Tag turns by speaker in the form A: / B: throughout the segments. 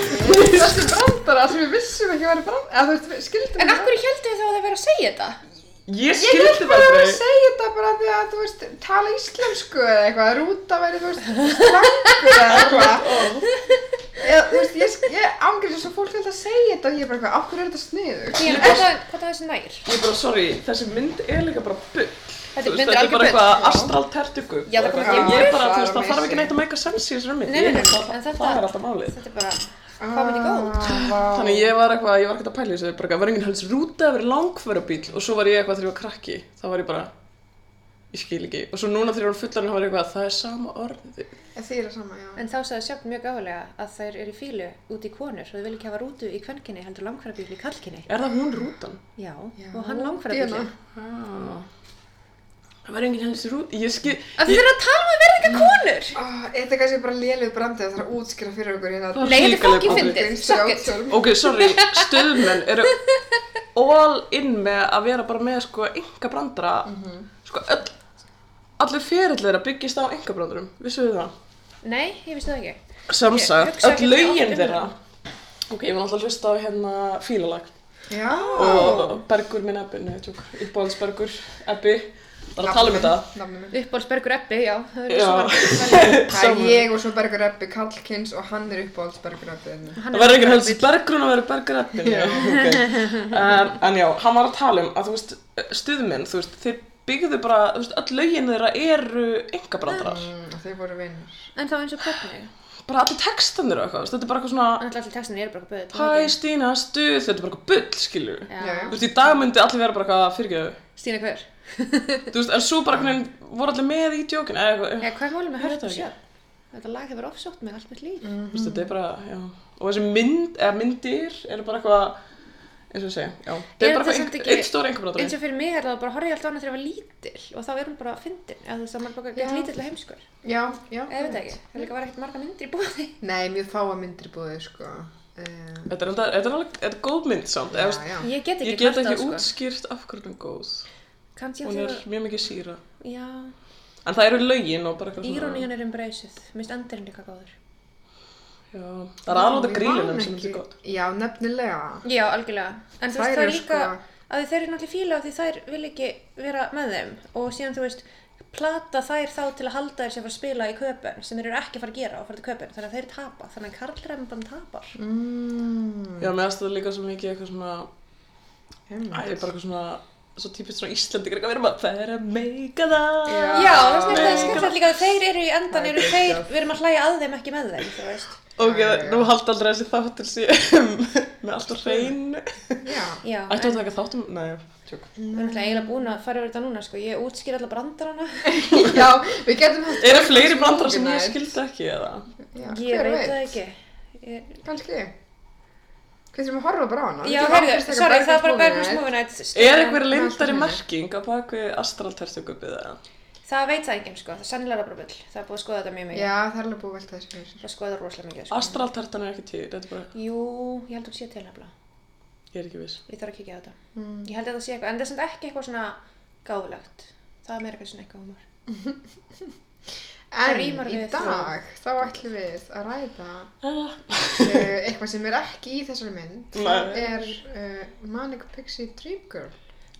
A: þessi brandara sem við vissum ekki að vera brandara eða þú veist, við skildum
B: En
A: ekki
B: af hverju heldur þið þá að það verið að segja þetta?
A: Ég held
C: Ég skildi
A: bara að
C: það
A: vera að
C: aldrei.
A: segja þetta bara því að, þú veist, tala íslensku eða eitthvað, rúta væri, þú veist, slangur eða eitthvað.
C: "Oh."
A: Eða, þú veist, ég, ég ángriði þess að fólk held að segja þetta og ég er bara eitthvað, af hverju er þetta sniður?
B: Ég, hvað, það, hvað það þessi nær?
C: Ég er bara, sorry, þessi mynd er líka bara bull.
B: Þetta er
C: Þú veist,
B: myndir
C: Þetta er
B: algjör
C: bara
B: bull.
C: eitthvað astral tertugu.
B: Já, það kom
C: Eitthvað.
A: ekki-
C: Ég er bara, þú veist,
A: Það var
C: það þarf ekki
A: missing.
C: neitt að make a sense í þessari mynd.
B: Nei, nei,
C: Ég
B: nei,
C: held að
B: en
C: það-
B: þetta-
C: Það er alltaf málið.
B: Þetta er bara, hvað myndi
C: Ah.
B: góð?
A: Ah, Vá.
C: Þannig ég var eitthvað, ég var ekkert að pæla í þessu, bara eitthvað, var enginn helst rúta að vera langfæra bíl og svo var ég eitthvað þegar ég var krakki, þá var ég bara, ég skil ekki. Og svo núna þegar ég var fullarinn, þá var ég eitthvað, það er sama orðið.
A: Ég þýr það sama, já.
B: En þá sagði Sjöfn mjög gáðulega að þær eru í fílu út í konur og þau vil ekki hafa rútu í kvenkinni heldur langfærabíl í kallkinni.
C: Er það hún rútan?
B: Já,
A: Já,
B: og hann langfærabíl.
A: Díana.
B: Ah.
C: Það var enginn helst rúta, ég skil,
B: Að þið eru að tala um að verða eitthvað konur!
A: Ó, Ah, Þetta er kannski bara lélug brandið að það er að útskýra fyrir okkur hérna.
C: Það er
B: Nei, þetta er
C: hrikaleg
B: fokkin
C: brandari.
B: fyndið,
A: Finnst þér
B: suck it.
A: átjálm?
C: ok, sorry, stöðmenn eru all in með að vera bara með sko enga brandara, sko öll, allir ferill þeirra byggist á enga brandarum, vissu við það?
B: Nei, ég vissi það ekki.
C: Sem
B: Ég
C: sagt,
B: hugsa
C: öll
B: ekki
C: lögin
B: oft um
C: þeirra, ok, ég var náttúrulega að hlusta á hérna fílalag
A: Já.
C: og Bergur minn Ebbi, neðu tjók, uppáhaldsbergur, Ebbi, var að tala um þetta.
A: Nafnum minn.
B: Uppbólsbergur Ebbi, já, það eru
C: Já.
B: svo margir.
A: Það er ég og svo Bergur Eppi Karlkins og hann er uppáhalds Bergur hérna. Eppi.
B: Hann
C: Það verður
B: er
C: ekki helst bergrun að vera bergreppin. Já, ok. Um, en já, hann var að tala um að þú veist, stuðmenn, þú veist, þeir byggðu bara, þú veist, öll lögin þeirra eru engabrandarar.
A: Mm, Þeir voru vinnir.
B: En þá eins og hvernig?
C: Bara allir textanir og eitthvað, þú veist, þetta er bara eitthvað svona,
B: Þannig að allir textin eru bara eitthvað böðið.
C: hæ, Stína, stuð, þetta er bara eitthvað bull, skilju.
A: Já,
B: Já.
A: já.
C: Þú veist, í dag myndi allir vera bara eitthvað fyrirgeðu.
B: Stína hver?
C: Þú veist, en svo bara einhvern veginn voru allir með í djókin, eða eitthvað,
B: Já, hvað er málið með
C: Ég veit
B: hörp og
C: það ekki. Mm.
B: sjö? Þetta lag hefur ofsótt mig allt mitt líf.
C: þú veist, þetta er bara, já. Og þessi mynd, eða myndir, eru bara eitthvað, eins og ég segja, já. Þetta
B: Er
C: er bara
B: þetta samt
C: eitthvað,
B: ekki-
C: einn stóri engabrandarinn.
B: eins og fyrir mig er það bara horfið ég alltaf annað þegar ég var lítil og þá er hún bara fyndin eða þú veist að maður bara
A: Já.
B: gett lítill og heimskur
A: Já, já.
B: eða veit það ekki, það líka var ekkert marga myndir í bóði
A: Nei, mjög fáa myndir í búið, sko. Uh,
C: Þetta er, enda- þetta er alveg, þetta er góð mynd samt,
A: já,
C: eða, veist,
A: já.
B: ég get ekki
C: ég get
B: kvartað,
C: ekki
A: sko.
C: útskýrt af hverju hún er góð.
B: sko. kannski
C: Hún er
B: alltaf
C: mjög mikið síra.
B: já,
C: En það eru lögin og bara eitthvað
B: írónían er embraceð mist endurinn líka góður
C: Já, það er aðlóta
A: Ég
C: grílinum
A: man
C: sem
A: ekki.
C: er gott.
A: Já, nefnilega.
B: já, algjörlega, en þú
A: Þær
B: veist það
A: eru
B: er líka
A: sko-
B: að þeir eru náttúrulega fíla af því þær vil ekki vera með þeim og síðan þú veist plata þær þá til að halda þér sem fara að spila í köpen sem þeir eru ekki að fara að gera og fara til köpen þannig að þeir tapa, þannig að karlremban tapar
A: Mm,
C: Já, mér aðstæða líka svo mikið eitthvað svona, æ,
A: einmitt.
C: bara eitthvað svona, svo típist svona Íslendingar eitthvað verið bara, það er að meika það.
A: Já.
B: Já, það er
C: Nei.
B: það skemmtilegt líka að þeir eru í endan,
A: Það er
B: eru þeir,
A: geggjað.
B: við erum að hlæja að þeim ekki með þeim, þú veist.
C: Ok,
A: Já, já, já.
C: nú haldi aldrei þessi þáttur síðan með allt á hreinu.
A: Já.
B: Já, en
C: Ættu að taka þáttum, nei, tjók.
B: við erum alltaf eiginlega búin að fara yfir þetta núna, sko, ég útskýr alla brandarana.
A: já, við getum haft...
C: Eru fleiri brandar sem ég
A: Organized.
C: skildi ekki eða?
A: Já,
B: Ég
A: hver
B: veit
A: veit,
B: það ekki. Ég...
A: kannski. Hvað þurfum að horfa bara á hana?
B: Já, heyrðu, sorry, það var bara sko. Bergnus Movie Night.
C: Er
B: stundina.
C: einhver lindari
A: svona.
C: merking á bakvið astraltertugubið eða?
B: Það veit það enginn, sko, það er sennilega bara bull, það er búið að skoða þetta mjög mikið.
A: Já, það er alveg búið að velta þessu fyrir.
B: Það er skoðað rosalega mikið, sko.
C: Astraltertan er ekki til, þetta er bara,
B: Jú, ég held að hún sé til nefnilega.
C: ég er ekki viss.
B: Ég þarf að kíkja á þetta. Ég held að það sé eitthvað, en það er samt ekki eitthvað svona gáðulegt. Það er meira eitthvað svona eitthvað humor.
A: En
B: rímar
A: í
B: við
A: dag, þá ætlum við að ræða
C: Ah.
A: uh, eitthvað sem er ekki í þessari mynd. Það
C: Nei.
A: er uh, Manic Pixie Dream Girl.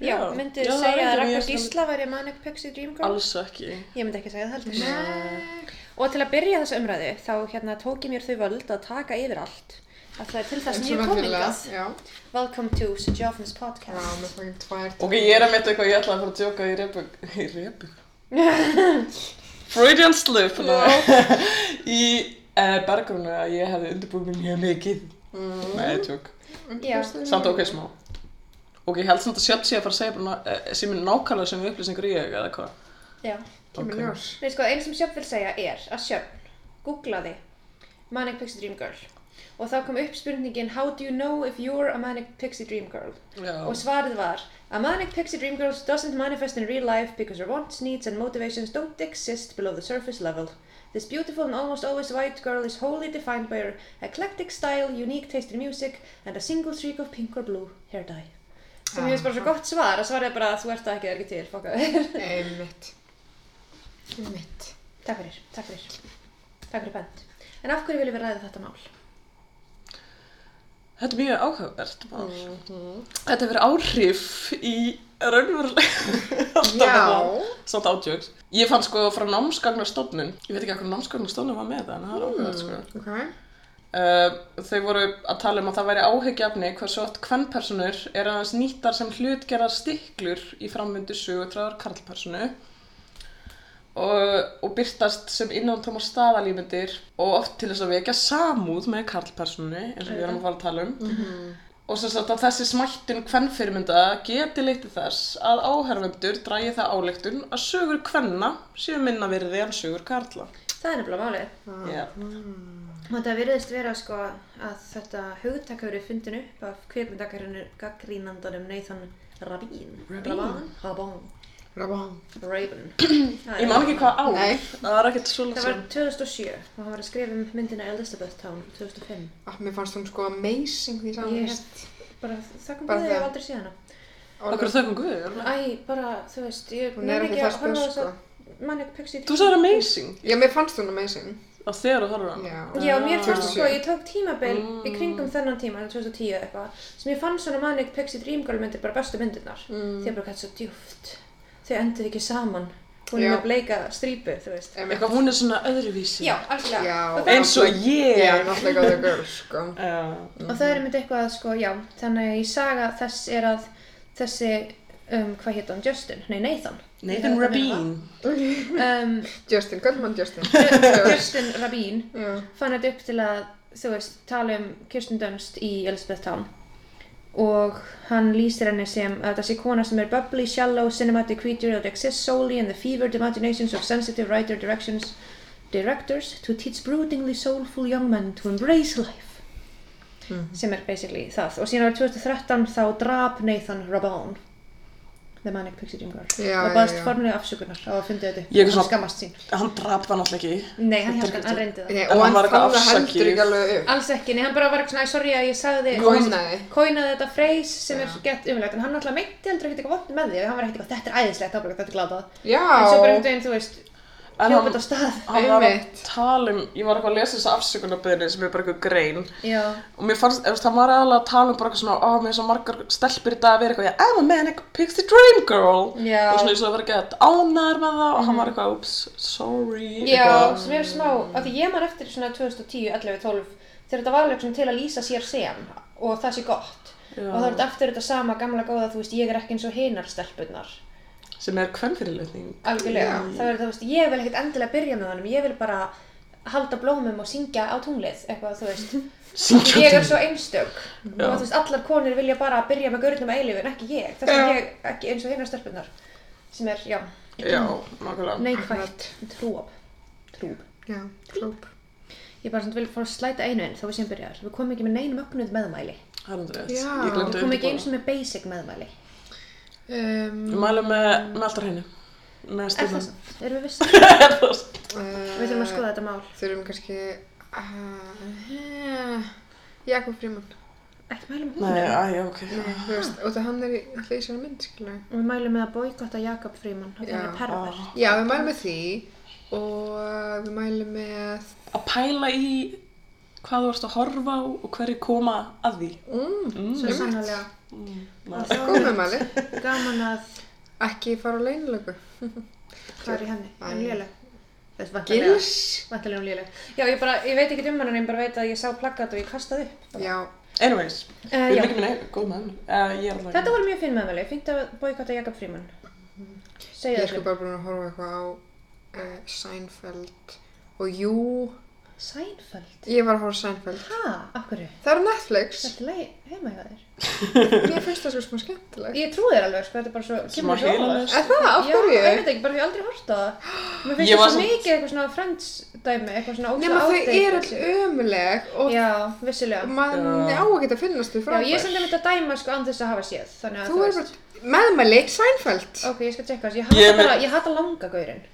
B: Já,
C: Já.
B: myndu
C: Já, það er
B: segja að
C: enginn í
B: Ragnar
C: Íslandi.
B: Gísla væri Manic Pixie Dream Girl?
C: Alls ekki.
B: Ég myndi ekki segja það heldur.
A: Nei.
B: Og til að byrja þessa umræðu þá hérna tók ég mér þau völd að taka yfir allt. Af það er til þess mjög komingað.
A: Já,
B: Welcome to Sir Joffins
A: já, með
B: podcast.
A: fokkin tvær
C: Ok, ég er að metta eitthvað, ég ætla að fara að djóka í rebug... Í rebug? Freudian slip, no. í uh, bergrunu að ég hefði undirbúið mér mjög mikið.
A: Mm.
C: Nei, tjók.
B: Já.
C: Samt ok, smá. Ok, ég held samt að sjöfn sé að fara að segja bara, uh, sem er nákvæmlega sem upplýsingur í ég, eða hvað.
B: Já.
A: Kemur
C: Ok.
A: ljós.
B: Nei sko, einu sem Sjöfn vil segja er að Sjöfn googlaði Manic Pixie Dream Girl og þá kom upp spurningin How do you know if you're a Manic Pixie Dream Girl? Og
C: Já.
B: svarið var A manic pixie dream girl doesn't manifest in real life because her wants, needs and motivations don't exist below the surface level. This beautiful and almost always white girl is wholly defined by her eclectic style, unique taste in music and a single streak of pink or blue hair dye. Sem ég veist bara svo gott svar að svarið er bara að þú ert það ekki, það er ekki til, fokka þér.
A: Eh, Einmitt. Einmitt.
B: takk fyrir, takk fyrir. Takk fyrir bent. En af hverju viljum við ræða þetta mál?
C: Þetta er mjög áhugavert mál.
A: Mm.
C: Þetta hefur áhrif í raunverulega alltaf
A: Já.
C: bara, samt átjöks. Ég fann sko frá námsgagnastofnun, ég veit ekki hvað námsgagnastofnun var með það, en það er áhugavert sko.
A: Ok.
C: Uh, þau voru að tala um að það væri áhyggjafni hversu oft kvennpersonur er aðeins nýttar sem hlutgerðar stiklur í framvindu sögutræðar karlpersonu og, og byrtast sem innantómar staðalímyndir og oft til þess að vekja samúð með karlpersonu eins og við erum að fara að tala um og sem sagt að þessi smættun kvennfyrirmynda geti leyti þess að áhörfundur drægi það áleiktun að sögur kvenna séu minna virði en sögur karla
B: Það er nefnilega málið.
C: Já,
B: Og Þetta virðist vera sko að þetta hugtak hefur verið fundin upp af kvikmyndagagrínandanum Nathan Rabin.
C: Rabin.
B: Rabin.
A: Rabán.
B: Rabin.
C: Ég man ekki hvað ár,
A: Nei.
C: það var ekkert svo langt
B: Það var
C: síðan.
B: 2007 og hann var að skrifa um myndina Elizabeth Town 2005.
A: Ah, mér fannst hún sko amazing því saman.
B: Ég hef bara þakkum
A: Bara
B: við því að ég
A: það.
B: hef aldrei séð hana.
C: Akkur þökkum Guði, örgulega.
B: Æ, bara þú veist, ég
A: Hún er
B: nenni
A: ekki
B: að
A: þess
B: horfa á
A: best
B: þess
A: sko.
B: að mann ekki pöksi í
C: Þú sagði amazing
A: Já, mér fannst hún amazing.
C: á þegar þú horfður á hana.
A: Já.
B: Já, mér fannst sko,
A: 2007.
B: ég tók tímabil
C: Mm.
B: í kringum þennan tíma, 2010 eða eitthvað, sem ég fann svona Manic Pixie Dream Girl myndir bara bestu myndirnar. Mm. Þeir bara gæti svo djúft. Þau enduðu ekki saman. Hún er
A: Já.
B: með bleika strípu, þú veist.
A: Em,
C: Eitthvað hún er svona öðruvísi.
B: Já, algjörlega.
A: Já.
B: Og, það,
C: Eins og ég.
A: Já, náttúrulega góða girl sko.
C: Já.
B: og það er einmitt eitthvað að sko, já, þannig að í saga þess er að þessi, um, hvað hétt hann, Justin? Nei, Nathan.
C: Nathan
B: Ég hefði þetta
C: Rabin.
A: Mm.
B: Um,
A: Justin, hvernig mann Justin?
B: Justin Rabin
A: Já.
B: fann þetta upp til að þú veist, tala um Kirsten Dunst í Elizabeth Town og hann lýsir henni sem að þessi kona sem er bubbly, shallow, cinematic creature that exists solely in the fevered imaginations of sensitive writer directions directors to teach broodingly soulful young men to embrace life
C: Mhm.
B: sem er basically það og síðan árið 2013 þá drap Nathan Rabone The Manic Pixie Dream Girl
A: Já,
B: og
A: já,
B: baðast
A: já.
B: formulega afsökunar á að fundi þetta upp
C: Ég er
B: og hann
C: svona-
B: skammast sín
C: Hann drap það náttúrulega ekki.
B: Nei, hann, hann, hann reyndi það
A: Nei,
C: En
A: og
C: hann
A: hann
C: var
A: fann
C: eitthvað
A: það heldur
C: afsakið.
A: ekki alveg upp.
B: Alls ekki, nei, hann bara var eitthvað svona, "Æ, sorry að ég sagði
A: Koinaði.
B: Koinaði þetta freys sem er
A: Já.
B: gett umlegt En hann alltaf meinti heldur ekkert eitthvað vond með því Hann var ekkert eitthvað, þetta er æðislegt, þá bara þetta er glatað
A: Já.
B: En svo bara um daginn, þú veist,
C: En
B: hljópa
C: hann,
B: þetta á stað
C: hann var að
A: Einmitt.
C: tala um, ég var eitthvað að lesa þessa afsökunarbeðinni sem er bara eitthvað grein.
B: Já,
C: Og mér fannst, eftir, hann var aðalega að tala um bara eitthvað svona, ó, mér er svo margar stelpur í dag að vera eitthvað, ég, I'm a manic pixie dream girl.
B: Já. Mhm.
C: Og svona eins og að vera gett ánæður með það og hann var eitthvað, oops, sorry,
B: já, sem er smá Af því ég man eftir svona 2010, 11, 12 Þegar þetta var alveg svona til að lýsa sér sem Og það sé gott
C: Já.
B: Og þá er þetta aftur þetta sama gamla góða, þú veist, ég er ekki eins og hinar stelpunnar
C: Sem er kvennfyrirlutning.
B: Algjörlega, þá er það, þú veist, ég vil ekkert endilega byrja með honum, ég vil bara halda blómum og syngja á tunglið, eitthvað, þú veist.
C: Syngja á
B: Ég er
C: tunglið.
B: svo einstök og þú veist, allar konur vilja bara byrja með gaurnum að eilífin, ekki ég. Þess
C: Já.
B: vegna ég ekki eins og hérna stelpunar, sem er, já,
C: Já, nákvæmlega.
B: neikvægt, trúab, trúb.
A: Já, klóp.
B: Ég bara svona vil fara að slæta einu inn, þá við sem byrjar. Við komum ekki með nein mögnuð meðmæli.
C: Það er
A: Já.
C: aldrei rétt. Ég
B: Við
C: glemdi að
B: komum ekki eins
C: undirbúa.
B: og með basic meðmæli.
A: Um,
C: Við mælum með, með alltaf hreinu. Með
B: Er það
C: stjórnum.
B: samt? Erum við vissið?
A: uh,
B: Við þurfum að skoða þetta mál.
A: eh, Þurfum kannski... Uh, Jakob Fríman.
B: Ekki mælum hún.
C: Nei, æja, ok.
A: Nei, þú veist, og það hann er í alltaf í sér mynd, skilja.
B: Við mælum með að boykotta Jakob Fríman, þannig að hann
A: Já.
B: er pervert.
C: Ah.
A: Já, við mælum með því og við mælum með...
C: Að pæla í hvað þú ert að horfa á og hverju koma að því. Mm.
A: Mm,
B: Svo sannlega. Og þá
A: góð með mæli.
B: er gaman að
A: Ekki fara á leynilöku.
B: hvað er í henni? Er hún léleg? Þú veist, vantarlega.
A: Gils.
B: Vantarlega hún léleg. Já, ég bara, ég veit ekkert um hann en ég bara veit að ég sá plaggat og ég kastaði upp. bara.
A: Já,
C: Anyways,
B: Eh,
C: við
B: já.
C: erum ekki með neina, góð með henni. Uh, ég er alltaf
B: Þetta var mjög finn meðmæli. Fyndi að boykotta Jakob Fríman. Segja
A: ég er sko
B: þetta.
A: bara búin að horfa eitthvað á uh, Seinfeld og jú,
B: Seinfeld?
A: ég var að horfa á Seinfeld.
B: Ha? Af hverju?
A: Það er á Netflix.
B: Þetta leið heima hjá þér.
A: Mér finnst það svo smá skemmtilegt.
B: Ég trúi þér alveg, sko, þetta er bara svo,
C: Smá
B: kemur svo
C: heilalaust.
A: Er það? Af
B: Já, ég
A: hverju?
B: veit ekki, bara því ég hef aldrei horta það. Mér finnst
C: Ég
B: það
C: var
B: svo
C: samt-
B: mikið eitthvað svona friends dæmi, eitthvað svona ósa
A: Nefna þau eru all ömuleg og
B: Já, vissulega.
A: mann
C: Já.
A: á ekki að finnast þau
B: Já,
A: frábær.
B: ég er sem þetta að dæma sko án þess að hafa séð, þannig að
A: Þú er bara meðmæli Seinfeld.
B: Ok, ég skal tjekka þessu, ég
C: Ég er
B: hata
C: með-
B: bara, ég hata langa gaurinn.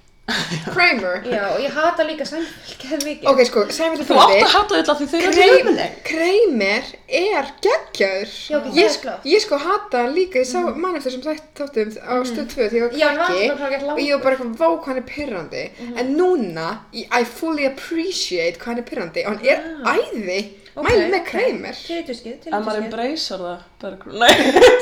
A: Kramer.
B: Já, og ég hata líka Seinfeld, geð mikið.
A: Ok, sko, Seinfeld er
C: Þú átt að
A: fyndið.
C: hata þetta því þau eru allir
A: Kramer,
C: umleg.
A: Kramer er geggjaður.
B: Já, ok, það
A: ég,
B: er klart.
A: ég sko hata hann líka, ég sá mm. mann eftir sem þætt þáttum á stöð 2 því
B: Mm. Já,
A: ég
B: hann var
A: var
B: alltaf bara
A: krakki
B: gett langur.
A: og ég var bara eitthvað vá hvað hann er pyrrandi
B: Mhm.
A: en núna, ég- I fully appreciate hvað hann er pyrrandi og hann er æði
B: Ah. Ok,
A: Mæli með
B: ok.
A: kreimir.
B: Tilhýtuskið,
C: En
B: tilhýtuskið.
C: maður embracear það, bergrún. Nei,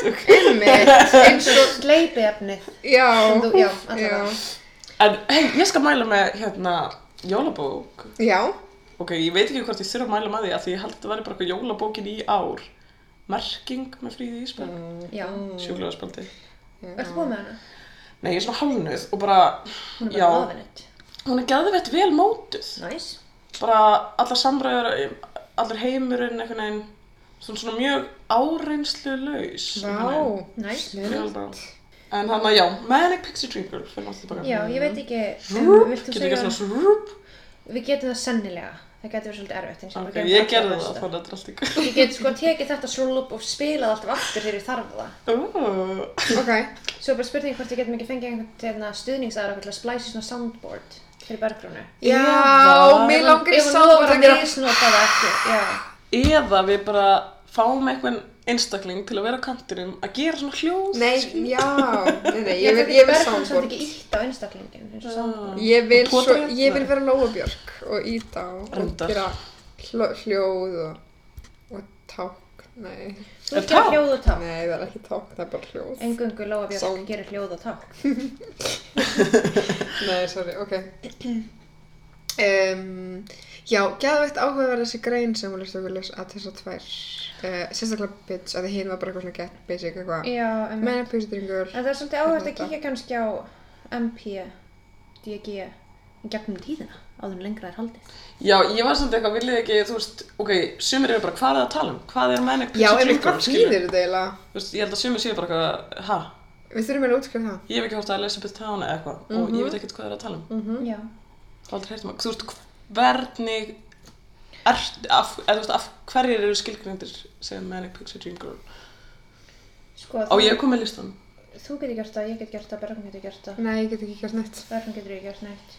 C: tjók.
A: Einmitt, eins og,
B: Sleipi efnið.
A: já,
B: Þú, já, allavega.
C: En hey, ég skal mæla með hérna jólabók.
A: já, já,
C: Ok, ég veit ekki hvort ég þurfa að mæla með því að því ég held að þetta væri bara eitthvað jólabókin í ár. Merking með fríði ísbjörn. Mm.
B: Já.
C: Sjúklega spjaldi.
B: Ertu búin með hana?
C: Nei, ég er svona hálnuð og bara,
B: Hún er
C: já,
B: bara lofinut.
C: hún er gæðvett vel mótuð.
B: Næs.
C: Bara allar samræður, allar heimurinn, einhvern veginn, svona, svona mjög áreinslu laus.
A: vá,
B: Næs.
C: En hann að já, Manic Pixie Dream Girl fyrir alltaf baka.
B: Já, ég veit ekki, um,
C: Rúp,
B: vilt þú
C: getur
B: segja,
C: ekki svona rúp.
B: við getum það sennilega, það getur verið svolítið erfitt eins og
C: Ok,
B: við
C: ég
B: gerum
C: gerði
B: alltaf besta.
C: það, þannig að þetta er allt í góð.
B: Ég get sko tekið þetta slúlup og spilað alltaf aftur þegar ég þarf það.
C: Ó,
A: ok,
B: Svo er bara spurning hvort ég getum ekki fengið einhvern hérna, stuðningsaðra til að splæsi svona soundboard fyrir berggrunni.
A: já,
C: Eða-
A: mér langar í
B: Ef hún
A: samfótt
B: lofar
A: að
B: að
A: gera,
B: misnota það ekki, já.
C: Eða við bara fáum einhvern einstakling til að vera á kantinum að gera svona hljóð.
A: nei, já, nei, nei, ég
B: Ég
A: vil,
B: veit ekki
A: ég vil
B: berggrunn samt
A: soundboard, Ah.
B: ekki ítt á einstaklingin eins og
C: Ah.
B: soundboard.
A: ég vil
C: Og
A: svo,
C: potra?
A: ég vil
C: Nei.
A: vera Lóabjörg og íta á og
C: Reyndar.
A: gera hljó, hljóð og, og ták, nei,
B: Þú
C: Er
B: ert gera
C: tákn?
B: hljóð og tákn.
A: nei, það er ekki ták, það er bara hljóð,
B: Engungu Lóa Björk
A: Sound.
B: gerir hljóð og tákn.
A: nei, sorry, ok, um, já, geðveitt áhugaverð þessi grein sem hún lýst okkur les að þessar tvær, uh, sérstaklega bitch, að því hinn var bara eitthvað svona get basic eitthvað,
B: Já, en, en
A: menn pýrstringur,
B: það er svolítið áhægt að
A: Þetta.
B: kíkja kannski á MP, DG, í gegnum tíðina, áður en lengra er haldið.
C: Já, ég var samt eitthvað, viljið ekki, þú veist, ok, sumir eru bara, hvað er það að tala um? Hvað er Manic
A: já,
C: Pixie
A: en
C: Dream
A: hvað
C: Girl, skilur?
A: þýðir þetta eiginlega?
C: um, Þú veist, ég held að sumir séu bara eitthvað, ha,
A: Við þurfum eiginlega að útskrifa það.
C: ég hef ekki hórt að Elizabeth Town eða eitthvað og ég
A: Mhm.
C: veit ekkert hvað það er að tala um.
A: Mm.
B: Já.
C: Það er aldrei heyrt um það. Þú veist, hvernig, er, af, eða, þú veist, af hverjir eru skilgrindir sem Manic Pixie Dream Girl?
B: Sko,
C: Á
B: þú,
C: ég kom með listan.
B: þú getur gert það, ég get gert það, Bergrún getur gert það.
A: Nei, ég get ekki gert neitt.
B: Bergrún getur ekki gert neitt.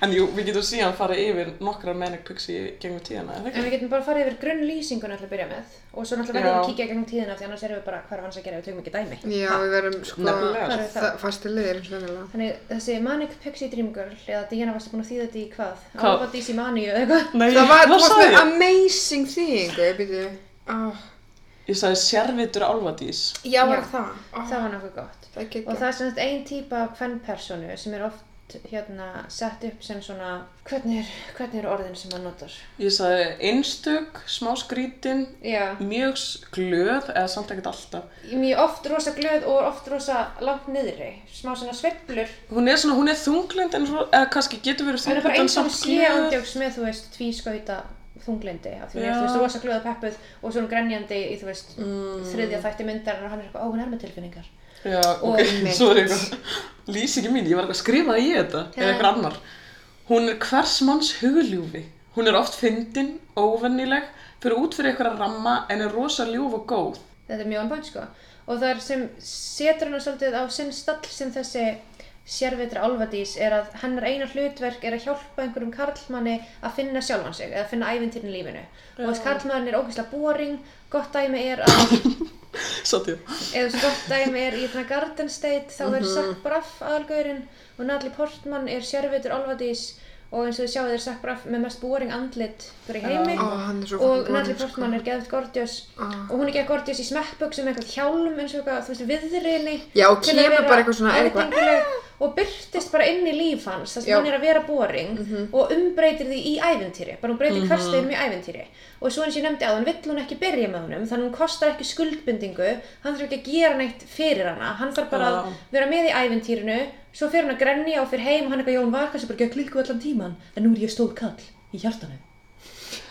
C: En jú, við getum síðan farið yfir nokkra Manic Pixie gengum tíðana,
B: En
C: eða ekki?
B: við getum bara farið yfir grunnlýsinguna alltaf að byrja með og svo náttúrulega verðum við
C: Já.
B: að kíkja í gegnum tíðina því annars erum við bara hvað er hans að gera, við tökum ekki dæmi.
A: Já, við verðum sko
C: Nefnilega.
B: Hvað er það?
A: þa- fasti liðir eins og venjulega.
B: Þannig þessi Manic Pixie Dream Girl, eða Diana varstu búin að þýða þetta í hvað?
C: Hvað?
B: Alba Dizzy Manu eða eitthvað?
C: Nei,
A: Það var
C: hvað
A: búið
C: sagði
A: með
C: ég?
A: amazing eh, þýðingu, ég byrju. Oh.
B: Ah.
C: Ég sagði sérvitur álvadís.
A: Já,
B: var
A: var það.
C: Ah.
A: Oh,
B: Það var nokkuð gott.
A: það
B: Og
A: getur.
B: það er sem sagt ein típa af kvennpersonu sem er oft hérna sett upp sem svona, hvernig er, hvernig er orðin sem maður notar?
C: Ég sagði einstök, smá skrítin,
B: Já,
C: mjög s- glöð, eða samt ekkert alltaf.
B: mjög oft rosa glöð og oft rosa langt niðri, smá svona sveiflur
C: Hún er svona, hún er þunglind en svo, eða kannski getur verið
B: Það er bara
C: þunglind en
B: eins og hún
C: samt
B: sé
C: glöð.
B: ándjóks með, þú veist, tvískauta þunglindi af því hún er,
C: Já.
B: þú veist, rosa glöða peppuð og svo er hún grenjandi í, þú veist,
C: Mm.
B: þriðja þætti myndar og hann er eitthvað, ó, hún er með tilfinningar.
C: Já,
B: Og
C: ok,
B: mitt.
C: svo er eitthvað. Lýsingi mín, ég var eitthvað að skrifa í þetta, eða eitthvað annar. Hún er hvers manns hugljúfi. Hún er oft fyndin, óvennileg, fyrir út fyrir eitthvað ramma en er rosa ljúf og góð.
B: Þetta er mjög anbænt, sko. Og það er sem setur hana svolítið á sinn stall sem þessi sérvitra álfadís er að hennar eina hlutverk er að hjálpa einhverjum karlmanni að finna sjálfan sig eða finna ævintýrin í lífinu. Og þess karlmann er ógeðslega boring, gott dæmi er að
C: Satt ég.
B: eða sem gott dæmi er í þarna Garden State þá
A: Mhm.
B: er Zach Braff aðalgaurinn og Natalie Portman er sérvitur Olvadís og eins og þið sjáu þeir Zach Braff með mest boring andlit fyrir heimi
A: Ó, Ah, hann er svo
B: og
A: fucking
B: Natalie
A: boring, sko.
B: Portman er geðvægt gorgeous
A: Ah.
B: og hún er geðvægt gorgeous í smekkböksum með eitthvað hjálm eins og eitthvað, þú veist, viðriðinni
A: Já, og kemur bara eitthvað svona, er eitthvað,
B: og byrtist bara inn í líf hans þess að
A: Já. Mhm.
B: hann er að vera boring og umbreytir því í æventýri bara hún breytir mm -hmm. hversteginum í æventýri og svo eins og ég nefndi að hann vill hún ekki byrja með honum þannig hún kostar ekki skuldbindingu hann þarf ekki að gera neitt fyrir hana hann þarf bara
C: Já.
B: að vera með í æventýrinu svo fer hún að grenja og fer heim og hann eitthvað, já hún var kannski bara ekki að klikku allan tíman en nú er ég stór kall í hjartanu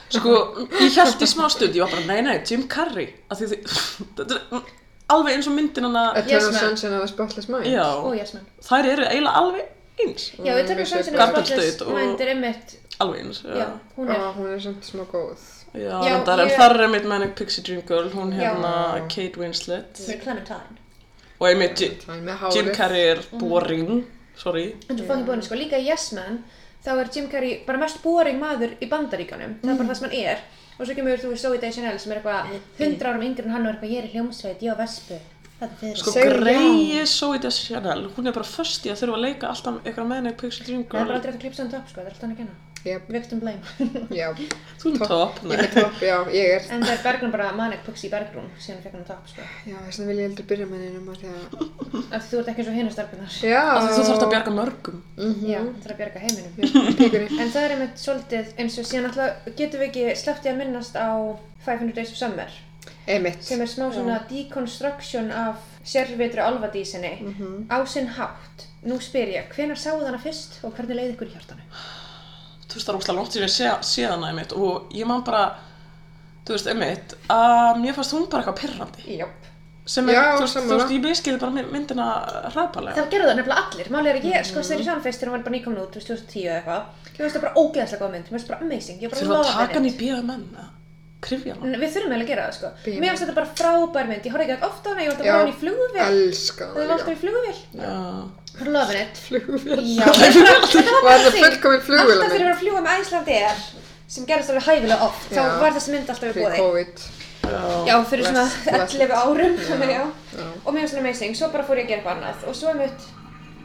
C: Sko, ég held í smá stund, ég var bara, nei, nei, Jim Carrey. Af því þið, þetta er alveg eins og myndin hann að,
A: Eternal
B: Yes, man.
A: Sunshine of the Spotless Mind.
C: já,
B: og Jasmine
C: þær eru eiginlega alveg eins.
B: já, við tökum
A: vissi
B: sannsinn
A: eitthvað.
C: Garden State og-
B: Mind er einmitt,
C: Alveg eins, já.
B: já, hún er
A: Ó, hún er samt smá góð.
C: Já,
B: Já,
C: reyndar, en
B: ég-
C: þar er einmitt Manic Pixie Dream Girl, hún
B: Já.
C: hérna Kate Winslet
B: hún er Clementine
C: og einmitt Ji-
A: Það er með
C: Jim
A: hárið.
C: Carrey er boring, sorry.
B: En svo fangin búin, sko, líka í Yes Man þá er Jim Carrey bara mest boring maður í bandaríkanum, það er bara það sem hann er og svo kemur þú í Zoe Deschanel sem Mm. er eitthvað 100 árum yngri en hann og er eitthvað, ég er í hljómsveit, ég á Vespu það er fyrir
C: Sko,
A: Segðu já.
C: greiði Zoe Deschanel, hún er bara först í að þurfa að leika alltaf eitthvað Manic Pixie Dream
B: það er bara
C: Girl.
B: aldrei eftir að klipsa hann upp, sko, það er alltaf hann að kenna
A: Jep,
B: Victim blame.
A: já,
C: Þú erum topp,
A: ég
C: nei.
A: er með topp, já, ég er
B: En það er Bergrún bara manic pixie Bergrún, síðan fekk hann topp, sko.
A: Já, þess vegna vil ég heldur byrja með neinum að því að
B: Af því þú ert ekki eins og hinnar starfinnar.
A: Já Mhm.
C: Af því þú þarfst að bjarga mörgum.
B: Já, það er að bjarga heiminum.
A: Píkurinn
B: En það er einmitt svolítið eins og síðan alltaf getum við ekki sleppt í að minnast á 500 Days of Summer
A: Einmitt
B: sem er smá svona deconstruction af sérvitru alfadísinni
A: Mhm.
B: á sinn hátt. Nú spyr ég, hvenær sáðu hana fyrst og hvernig leið ykkur í hjartanu?
C: Þú veist, það er óslega langt sem ég sé, séðan að mitt og ég man bara, þú veist, einmitt, að mér fannst hún bara eitthvað pirrandi.
B: Jáp.
C: Sem er,
A: Já,
C: þú veist, þú
A: sammála.
C: veist, ég miskili bara my- myndina hrapalega.
B: Það gerðu það nefnilega allir. Málið er að ég, sko, þegar ég sá hana fyrst þegar hún var bara nýkomin út, þú veist, 2010 eða eitthvað, ég veist það bara ógeðslega góð mynd, mér veist bara amazing, ég bara
C: Þurfa að
B: lofaði
C: taka hann
B: henni.
C: í BMN, eða krifja hann.
B: N- Við þurfum eiginlega að gera það, sko.
A: Bíó.
B: Mér finnst þetta bara frábær mynd, ég horfði ekki oft á hana, ég var alltaf
A: Já.
B: bara á henni í flugvél.
A: Elska
B: Þau
A: það
B: langt í flugvél.
C: Já.
B: Bara lofin eitt.
A: Flugvél
B: Já, þetta
A: Var
B: var bara
A: það fullkomin flugvél
B: Alltaf þegar ég var að fljúa með Æslandi er sem gerðist alveg hæfilega oft, þá
A: Já.
B: var þessi mynd alltaf í
A: Fyrir
B: bóði.
A: COVID
C: Já.
B: Já, fyrir svona
A: Bless- bless.
B: 11 árum, þannig já.
A: Já.
B: Og mér var svona amazing, svo bara fór ég að gera eitthvað annað. Og svo einmitt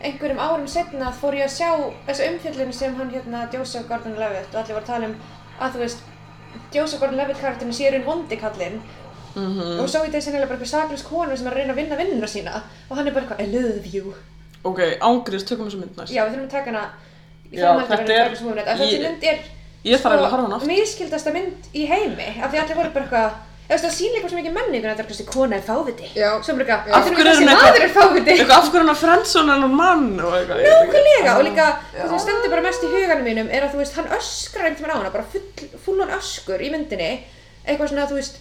B: einhverjum árum setna fór ég að sjá þessu umfjöllun sem hann hérna Joseph Gordon-Levitt og allir voru að tala um að þú veist, Joseph Gordon-Levitt karakterinn sé í raun vondi kallinn
C: Mhm.
B: og
A: Mm.
B: svo í þessi nefnilega bara eitthvað saklaus konu sem er að reyna að vinna vinnuna sína og hann er bara eitthvað, I love you.
C: Ok, ángriðs, tökum þessu mynd næst.
B: Já, við þurfum að taka hana í
C: Já,
B: framhaldi verður
C: þetta
B: að
C: er-
B: taka þessu múmið að
C: ég-
B: þessi mynd er
C: Ég þarf eiginlega að horfa á hana aftur.
B: miskildasta mynd í heimi af því allir voru bara eitthvað eða veist það sýnir eitthvað sem ekki menninguna þetta er þessi kona er fáviti
A: Já.
B: svo bara
A: Já.
B: eitthvað af
C: Af hverju
B: hverju
C: er
B: þessi
C: hún
B: maður er fáviti
C: Eitthvað af hverju hann að frendson hennar mann og eitthvað. ég veit ekki.
B: nákvæmlega og líka það sem stendur bara mest í huganum mínum er að þú veist hann öskrar einhvern veginn á hana bara full, fullan öskur í myndinni eitthvað svona þú veist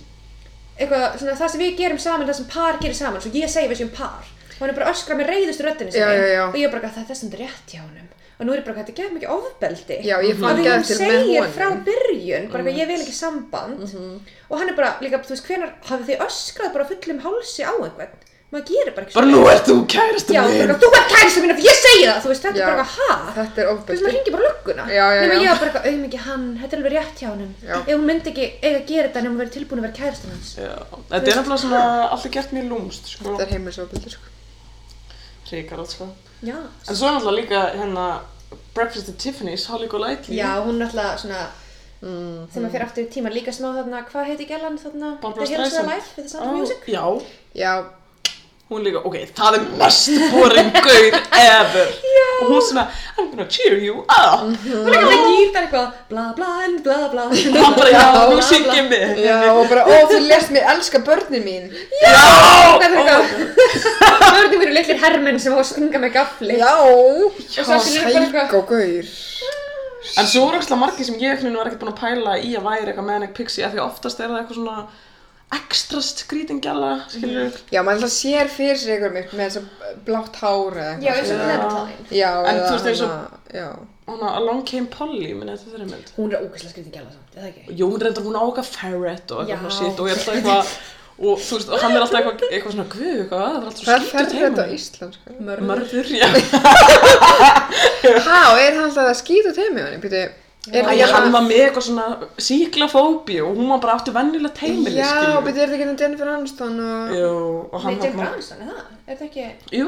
B: eitthvað svona það sem við gerum saman það sem par gerir saman svo ég segi við séum par og hann er bara að öskra með reyðustu röddinni sinni
A: Já, já, já.
B: og ég er bara eitthvað það er þessum rétt hjá honum og nú er ég bara eitthvað þetta gefur mikið ofbeldi
A: Já, ég fann
B: að
A: ekki
B: hún
A: eftir með
B: segir
A: honum. Mm-hmm.
B: frá byrjun, bara eitthvað ég vil ekki samband og hann er bara, líka, þú veist, hvenar hafið þið öskrað bara fullum hálsi á einhvern maður gerir bara ekki
C: Bara nú ert þú kærasti
B: Já, bara, eitthvað, þú ert kærasta mín af því ég segi það, þú veist, þetta
A: Já.
B: er bara eitthvað, ha?
A: Þetta er
B: Þú veist, maður
A: ofbeldi
B: ringir bara lögguna
A: Já, já,
B: Nema
A: já.
B: ég var bara eitthvað, auðvitað hann, þetta er alveg rétt hjá honum
A: Já.
B: Ef hún myndi ekki eiga að gera þetta nema hún verið tilbúin að vera kærasta hans
C: Já, þetta er nefnilega svona alltaf gert mjög lúmst, sko.
A: Þetta er heimilisofbeldi sko
C: Ríkarað, sko.
B: Já,
C: En svo er náttúrulega líka hérna Breakfast at Tiffany's, Holly Golightly,
B: já hún náttúrulega svona,
A: Mm.
B: þegar maður fyrir aftur í tíman líka smá þarna, hvað heiti gælan þarna?
C: Barbra
B: The Hills
C: Streisand.
B: Are Alive, The Sound
C: Ó,
B: of Music
C: Já,
A: Já,
C: hún líka, ok, það er mest boring gaur ever. Já. Og hún svona, I'm gonna cheer you up.
A: Mm.
B: Hún er ekki með gítar eitthvað, bla bla and bla bla
C: Og hann bara,
A: Já,
C: já,
A: bla,
C: hún syngir mig.
A: já og bara, ó þú lest mér elska börnin mín
C: Já!
B: Það er eitthvað, börnum eru litlir hermenn sem á að stinga með gafli
A: Já,
B: Og svo allt í einu bara eitthvað-
A: sækó gaur
C: En svo eru ekki margir sem ég einhvern veginn var ekkert búin að pæla í að væri eitthvað manic pixie af því oftast er það eitthvað svona ekstra skrítingjala, skilur
A: Já, maður alltaf sér fyrir sig einhver mitt með þess að blátt hár eða
B: Já,
A: eitthvað
B: eins og
C: Já.
B: Clementine
A: Já,
C: En þú veist, eins og-
A: hana- Já,
C: hana Along Came Polly, minni þetta þeirri mynd
B: Hún er ógeðslega skrítið gæla samt, er það ekki?
C: Jó, hún reyndar hún á eitthvað ferret og eitthvað
B: Já.
C: svona shit og ég er alltaf eitthvað og þú veist, og hann er alltaf eitthvað, eitthvað svona guð, eitthvað, það er
A: það
C: alltaf svo
A: er
C: skítið
A: ferðið
C: heima
A: þetta á íslensku
C: Mörður, já
A: Há, er hann alltaf að skýta teimi hann? Býtu, er
C: Æ, hann var með eitthvað svona síklafóbi og hún var bara áttu venjulegt heimili,
A: Já,
C: skilur
A: býtu, er þetta ekki hann Jennifer Aniston og,
C: Jú, og
B: Nei,
C: hann
B: Jennifer
C: þarna-
B: Aniston, er það? Er það ekki,
C: Jú,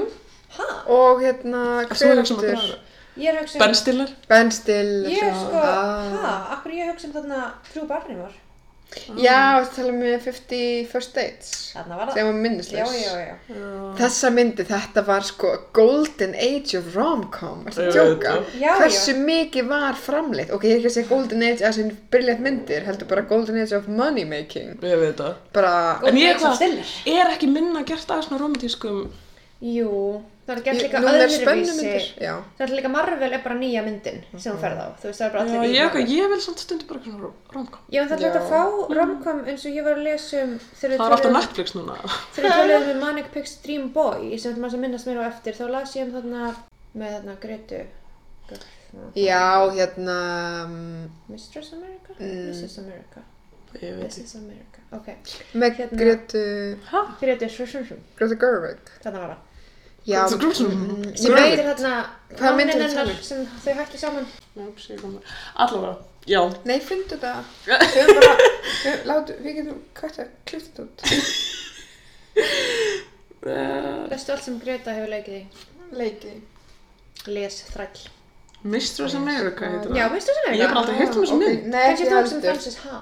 B: hæ?
A: og hérna,
C: svo er
A: hver
C: ekki sem að
A: aftur?
C: gera
B: Ég er að hugsa um-
C: Ben Stiller
A: Ben Still
B: Ég er
A: já.
B: sko, hæ,
A: Ah.
B: akkur ég hugsa um þarna frú Barrymore
A: Já, það tala með 50 First Dates
B: Þarna var það
A: sem var
B: Já,
A: minnislegs
B: já, já
A: Þessa myndi, þetta var sko golden age of rom-com Ertu að
C: Ég veit
A: djóka?
C: það.
B: Já,
A: Hversu mikið var framleitt? Ok, ég er ekki að segja golden age að sem briljant myndir heldur bara golden age of money making
C: Ég veit það
A: bara,
B: Golden
C: En
B: Age
C: ég
B: of
C: hvað,
B: Stiller.
C: er ekki minna gert að svona romantískum
B: Jú, það er gert
A: Ég-
B: líka
A: núna er
B: öðruvísi
A: spennumyndir, já.
B: Það er líka Marvel er bara nýja myndin sem hún ferð á Þú veist, það er bara
C: Já,
B: allir í
C: ég,
B: Marvel.
C: ég vil samt stundu bara eitthvað svona romkom
B: Já, en það er hægt
A: Já.
B: að fá romcom eins og ég var að lesa um þegar
C: Það er alltaf Netflix núna
B: Þegar við talaðum um Manic Pixie Dream Boy sem þetta maður sem minnast mér á eftir þá las ég um þarna með þarna Gretu
A: já, hérna mm,
B: Mistress America?
A: Mm.
B: Mrs. America
C: Ég veit
B: Mrs. America, ok
A: með
B: Hérna.
A: Gretu,
C: ekki
B: Gretu, svo svo svo
A: Gretu Gerwig
B: Þarna var það
A: Já,
C: Gretu Gerwig?
A: mm,
B: Ég
A: ég
B: veit
A: veit,
B: er þarna
A: Hvaða mynd er
B: manninn
A: þetta
B: hennar
C: um?
A: talað?
B: sem þau hættu saman
C: Allavega, já
A: nei, fyndu þetta Við erum bara, við- látu, við getum kvætt að klifta þetta út
C: Eh,
B: Lestu allt sem Greta hefur leikið í
A: Leiki
B: Les þræll
C: Mistress America heitir það.
B: Já, veistu það sem
C: Ég hef bara
B: er?
C: aldrei heyrt um
A: Ah,
C: þessu
A: Ok,
C: mynd.
A: Nei,
B: Kanski
A: ekki
B: þú sem
A: heldur.
B: Frances Ha?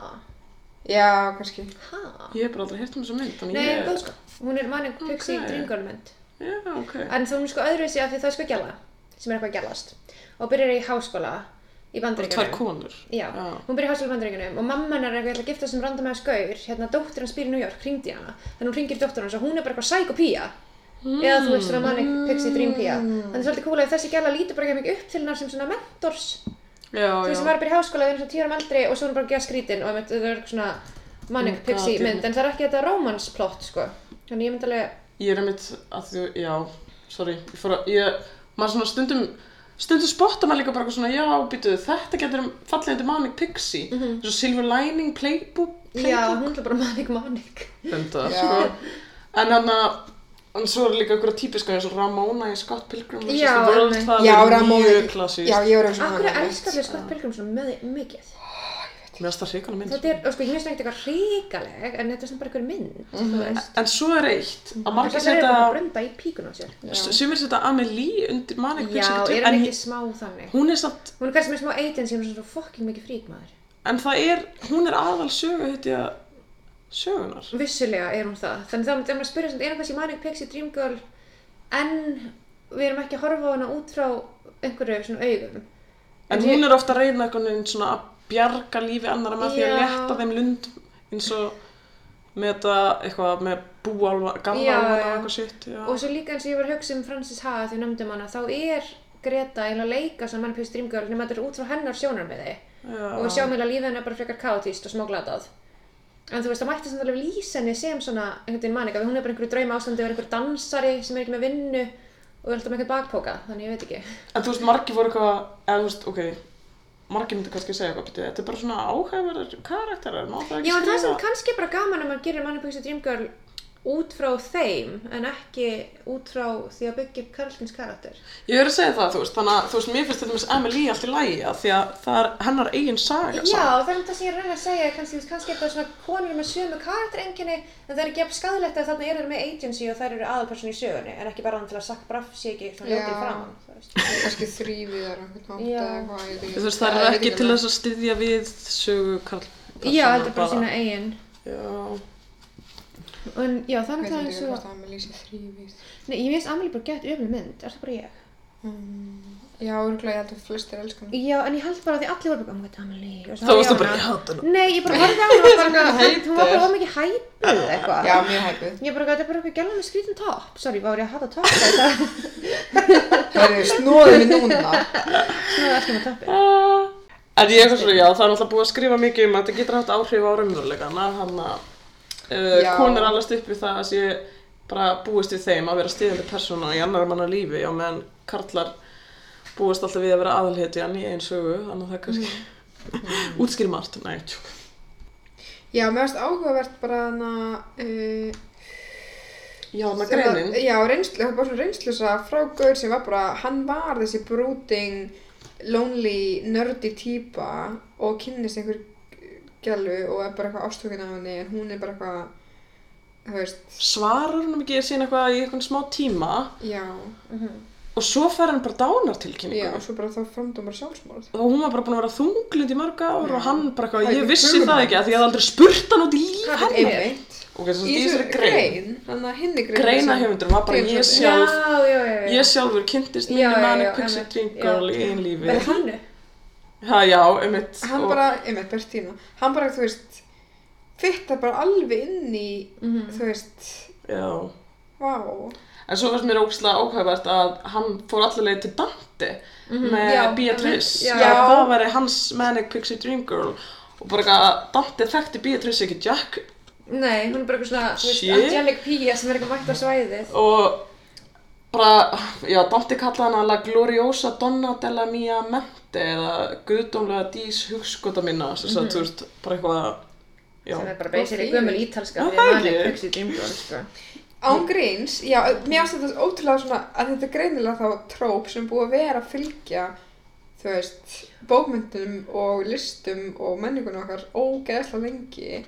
A: Já, kannski.
B: Ha?
C: Ég hef bara aldrei heyrt um þessu mynd,
B: Nei,
C: þannig
B: yeah.
C: ég...
B: góð sko. Hún er manning Pixie
C: Ok.
B: okay. Dream Girl mynd.
C: Já, ok.
B: En þá er hún sko öðruvísi af því það er sko gæla, sem er eitthvað gælast. Og byrjar í háskóla í
C: Bara tvær
B: bandaríkjunum.
C: konur.
B: Já,
C: Já.
B: hún byrjar í háskóla í bandaríkjunum og mamma hennar er eitthvað ég ætla að gifta sem randamæða skaur, hérna dóttir hans býr í New York, hringdi í hana. Þannig hún hringir dóttir hans og hún er bara eitthvað psykopía. Eða þú veist svona manic
C: Hmm.
B: pixie dream pía. Þannig það er svolítið kúla að þessi gæla lítur bara ekki mikið upp til hennar sem svona mentors.
C: Já,
B: Þú
C: já.
B: veist sem var að byrja í háskóla, þau eru svona tíu árum eldri og svo er hún bara að gera skrítin og einmitt, það er eitthvað svona manic
C: Oh my
B: pixie
C: God,
B: mynd. En það er ekki þetta romance plot sko. Þannig ég myndi alveg,
C: Ég er einmitt að þú, já, sorry, ég fór að, ég, maður svona stundum, stundum spotta maður líka bara eitthvað svona, já, býtu, þetta getur fallið undir Manic Pixie, mm
B: Mhm.
C: -hmm. svo Silver Lining Playbook,
B: já,
C: Playbook,
B: hún er bara manic manic.
C: þetta,
A: Já.
C: sko, en hann að, En svo eru líka einhverja típiska eins og Ramona í Scott Pilgrim vs.
B: Já,
C: The World,
B: einmitt.
C: það
A: Já,
C: er
A: Ramón.
C: mjög klassíst.
A: Já, ég var eins og
B: Akkur
A: hana,
B: elskar þau Scott Pilgrim svona möði- mikið?
C: Mér finnst það hrikalega mynd.
B: Þetta er, og sko, ég finnst það ekkert eitthvað hrikaleg, en þetta er svona bara einhver mynd,
C: Mhm.
B: þú veist.
C: En svo er eitt, að margir
B: Þessar eru Mm. bara að
C: setja,
B: brenda í píkun á sér.
C: sumir setja Amelie undir Manic
B: Já,
C: Pixie,
B: er
C: Dream-
B: hann
C: en
B: ekki smá þannig?
C: hún er samt,
B: Hún er kannski með smá agency, hún er svona fokking mikið frík maður.
C: en það er, hún er aðal sögu, heit ég, sögunar.
B: Vissulega er hún það. Þannig þá myndi ég að spyrja svona, er hann kannski Manic Pixie Dream Girl, en við erum ekki að horfa á hana út frá einhverju svona augum.
C: En hún er ofta að reyna einhvern veginn svona að bjarga lífi annara með því að
B: Já.
C: létta þeim lund eins og með þetta eitthvað með búálfa,
B: Já,
C: gamla álfa
B: já.
C: og eitthvað sitt. Já.
B: Og svo líka eins og ég var að hugsa um Frances Ha þegar nefndum hana, þá er Greta eiginlega að leika sem Manic Pixie Dream Girl, nema þetta er út frá hennar sjónarmiði.
C: já.
B: og við sjáum eiginlega að lífið henni er bara frekar kaotíst og smá glatað en þú veist, það mætti samt alveg lýsa henni sem svona einhvern veginn manning, að hún er bara í einhverju drauma ástandi og er einhver dansari sem er ekki með vinnu og er alltaf með einhvern bakpoka, þannig ég veit ekki
C: En þú veist, margir voru eitthvað, eða þú veist, ok, margir myndi kannski segja eitthvað, "Bíddu, þetta er bara svona áhæfverðar karakterar, má það ekki
B: Já, en það er samt kannski bara gaman að maður gerir Manic Pixie Dream Girl út frá þeim en ekki út frá því að byggja upp karlins karakter
C: Ég er að segja það, þú veist, þannig að, þú veist, mér finnst þetta með Emily allt í lagi, af því að það er hennar eigin saga,
B: Já,
C: samt.
B: það er um það sem ég er að reyna að segja kannski, þú veist, kannski er það svona konur með sömu karakterenginni en það er ekki jafn skadalegt að þarna eru þær með agency og þær eru aðalperson í sögunni en ekki bara hann til að sakk braff sé ekki svona ljótið
A: Já.
B: framann þú veist.
A: Kannski þrýfið þar einhvern hátt
B: Já.
A: eða eitthvað, ég veit ekki.
C: Þú veist, það
A: Ég
C: er
A: veit
C: ekki til
A: með-
C: þess að styðja við sögu karl.
B: Já, þetta er bara sína eigin
C: Já.
B: en já,
A: Ég
B: þannig
A: veit
B: það er
A: ekki
B: svo
A: hvort það með lýsi þrýfið.
B: Nei, ég veist Amelie bara gett öfnum mynd, er það bara ég?
A: Um, Já, örgulega ég held að flestir elska hana.
B: Já, en ég held bara að því allir voru bara, um hvað Amelie og svo
C: Þá
B: horfði
C: varstu
B: á
C: bara,
B: hana.
C: ég hata hana.
B: Nei, ég bara horfði á hana og bara,
C: Heitar.
B: hún var bara of mikið hæpuð eitthvað
A: Já, mjög hæpið.
B: Ég bara, þetta er bara eitthvað gæla með skrítin topp, sorry, var ég að hata topp þetta,
A: Það eru snóðið mér núna.
B: snúið ekki með toppi
C: Ah. En ég er svona, já, það er náttúrulega búið að skrifa mikið um að þetta getur haft áhrif á raunveruleikana, hann að uh,
A: Já.
C: konur allast upp við það að sé bara búist við þeim að vera stiðandi persóna í annar manna lífi, já, meðan karlar búist alltaf við að vera aðalhetjan í einn sögu, þannig að það kannski mm. útskýri margt, nei, tjók.
A: Já, mér finnst áhugavert bara hana... Uh,
C: Já, hann að
A: sem að-
C: greinin,
A: Já, reynslu, hún var svona reynslusa frá Gaur sem var bara, hann var þessi brooding, lonely, nerdy típa og kynnist einhver gælu og er bara eitthvað ástökin af henni en hún er bara eitthvað, þú veist,
C: svarar hann ekki síðan eitthvað í eitthvað smá tíma
A: já,
B: Mhm.
C: og svo fer hann bara dánartilkynningu.
A: já, og svo bara þá framdómar sjálfsmorð.
C: og hún var bara búin að vera þunglind í mörg ár og hann bara
A: Það
C: eitthvað,
A: er
C: ég
A: ekki
C: vissi
A: hugmynd.
C: það ekki að því að það aldrei spurt hann út í líf
B: Hvað er
C: henni
A: Einmitt.
C: og þess að
A: Í
C: þessari
A: þessari
C: grein
A: hann að henni grein.
C: greina höfundur var bara
A: Grein
C: ég
A: sem-
B: Já,
C: sjálf
B: já, já, já.
C: ég sjálfur kynntist minni
B: Já, já,
C: manni
B: já,
C: Pixie
B: einmitt,
C: Dream
B: já.
C: Girl í einn lífi
B: Bara hannu.
C: ha, já, einmitt
A: Hann
C: og-
A: bara, einmitt, Bertína, hann bara, þú veist, fittar bara alveg inn í, þú veist,
C: já.
A: vá.
C: en svo varst mér ógslag ákvæðvært að hann fór allir leið til Dante með
B: Já,
C: Beatrice
B: einmitt,
A: já.
C: að
A: Já.
C: það væri hans Manic Pixie Dream Girl og bara eitthvað að Dante þekkti Beatrice ekki Jack
B: Nei, hún er bara eitthvað svona, þú veist,
C: Shit.
B: angelic pía sem er eitthvað mætt á svæðið.
C: og bara, já, Dante kallaði hana la gloriosa donna della mia mente eða guðdómlega dís hugskota minna sem sagt, þú veist, bara eitthvað já,
B: Sem er bara
A: Og
B: basically
A: fín.
B: gömul ítalska
C: Já,
B: því að
C: það
B: manni
C: ekki.
B: pöksi dýmdur, sko.
A: Án gríns, já, mér finnst þetta ótrúlega svona að þetta er greinilega þá tróp sem er búið að vera að fylgja, þú veist, bókmyndum og listum og menningunum okkar Eh, ógeðslega lengi.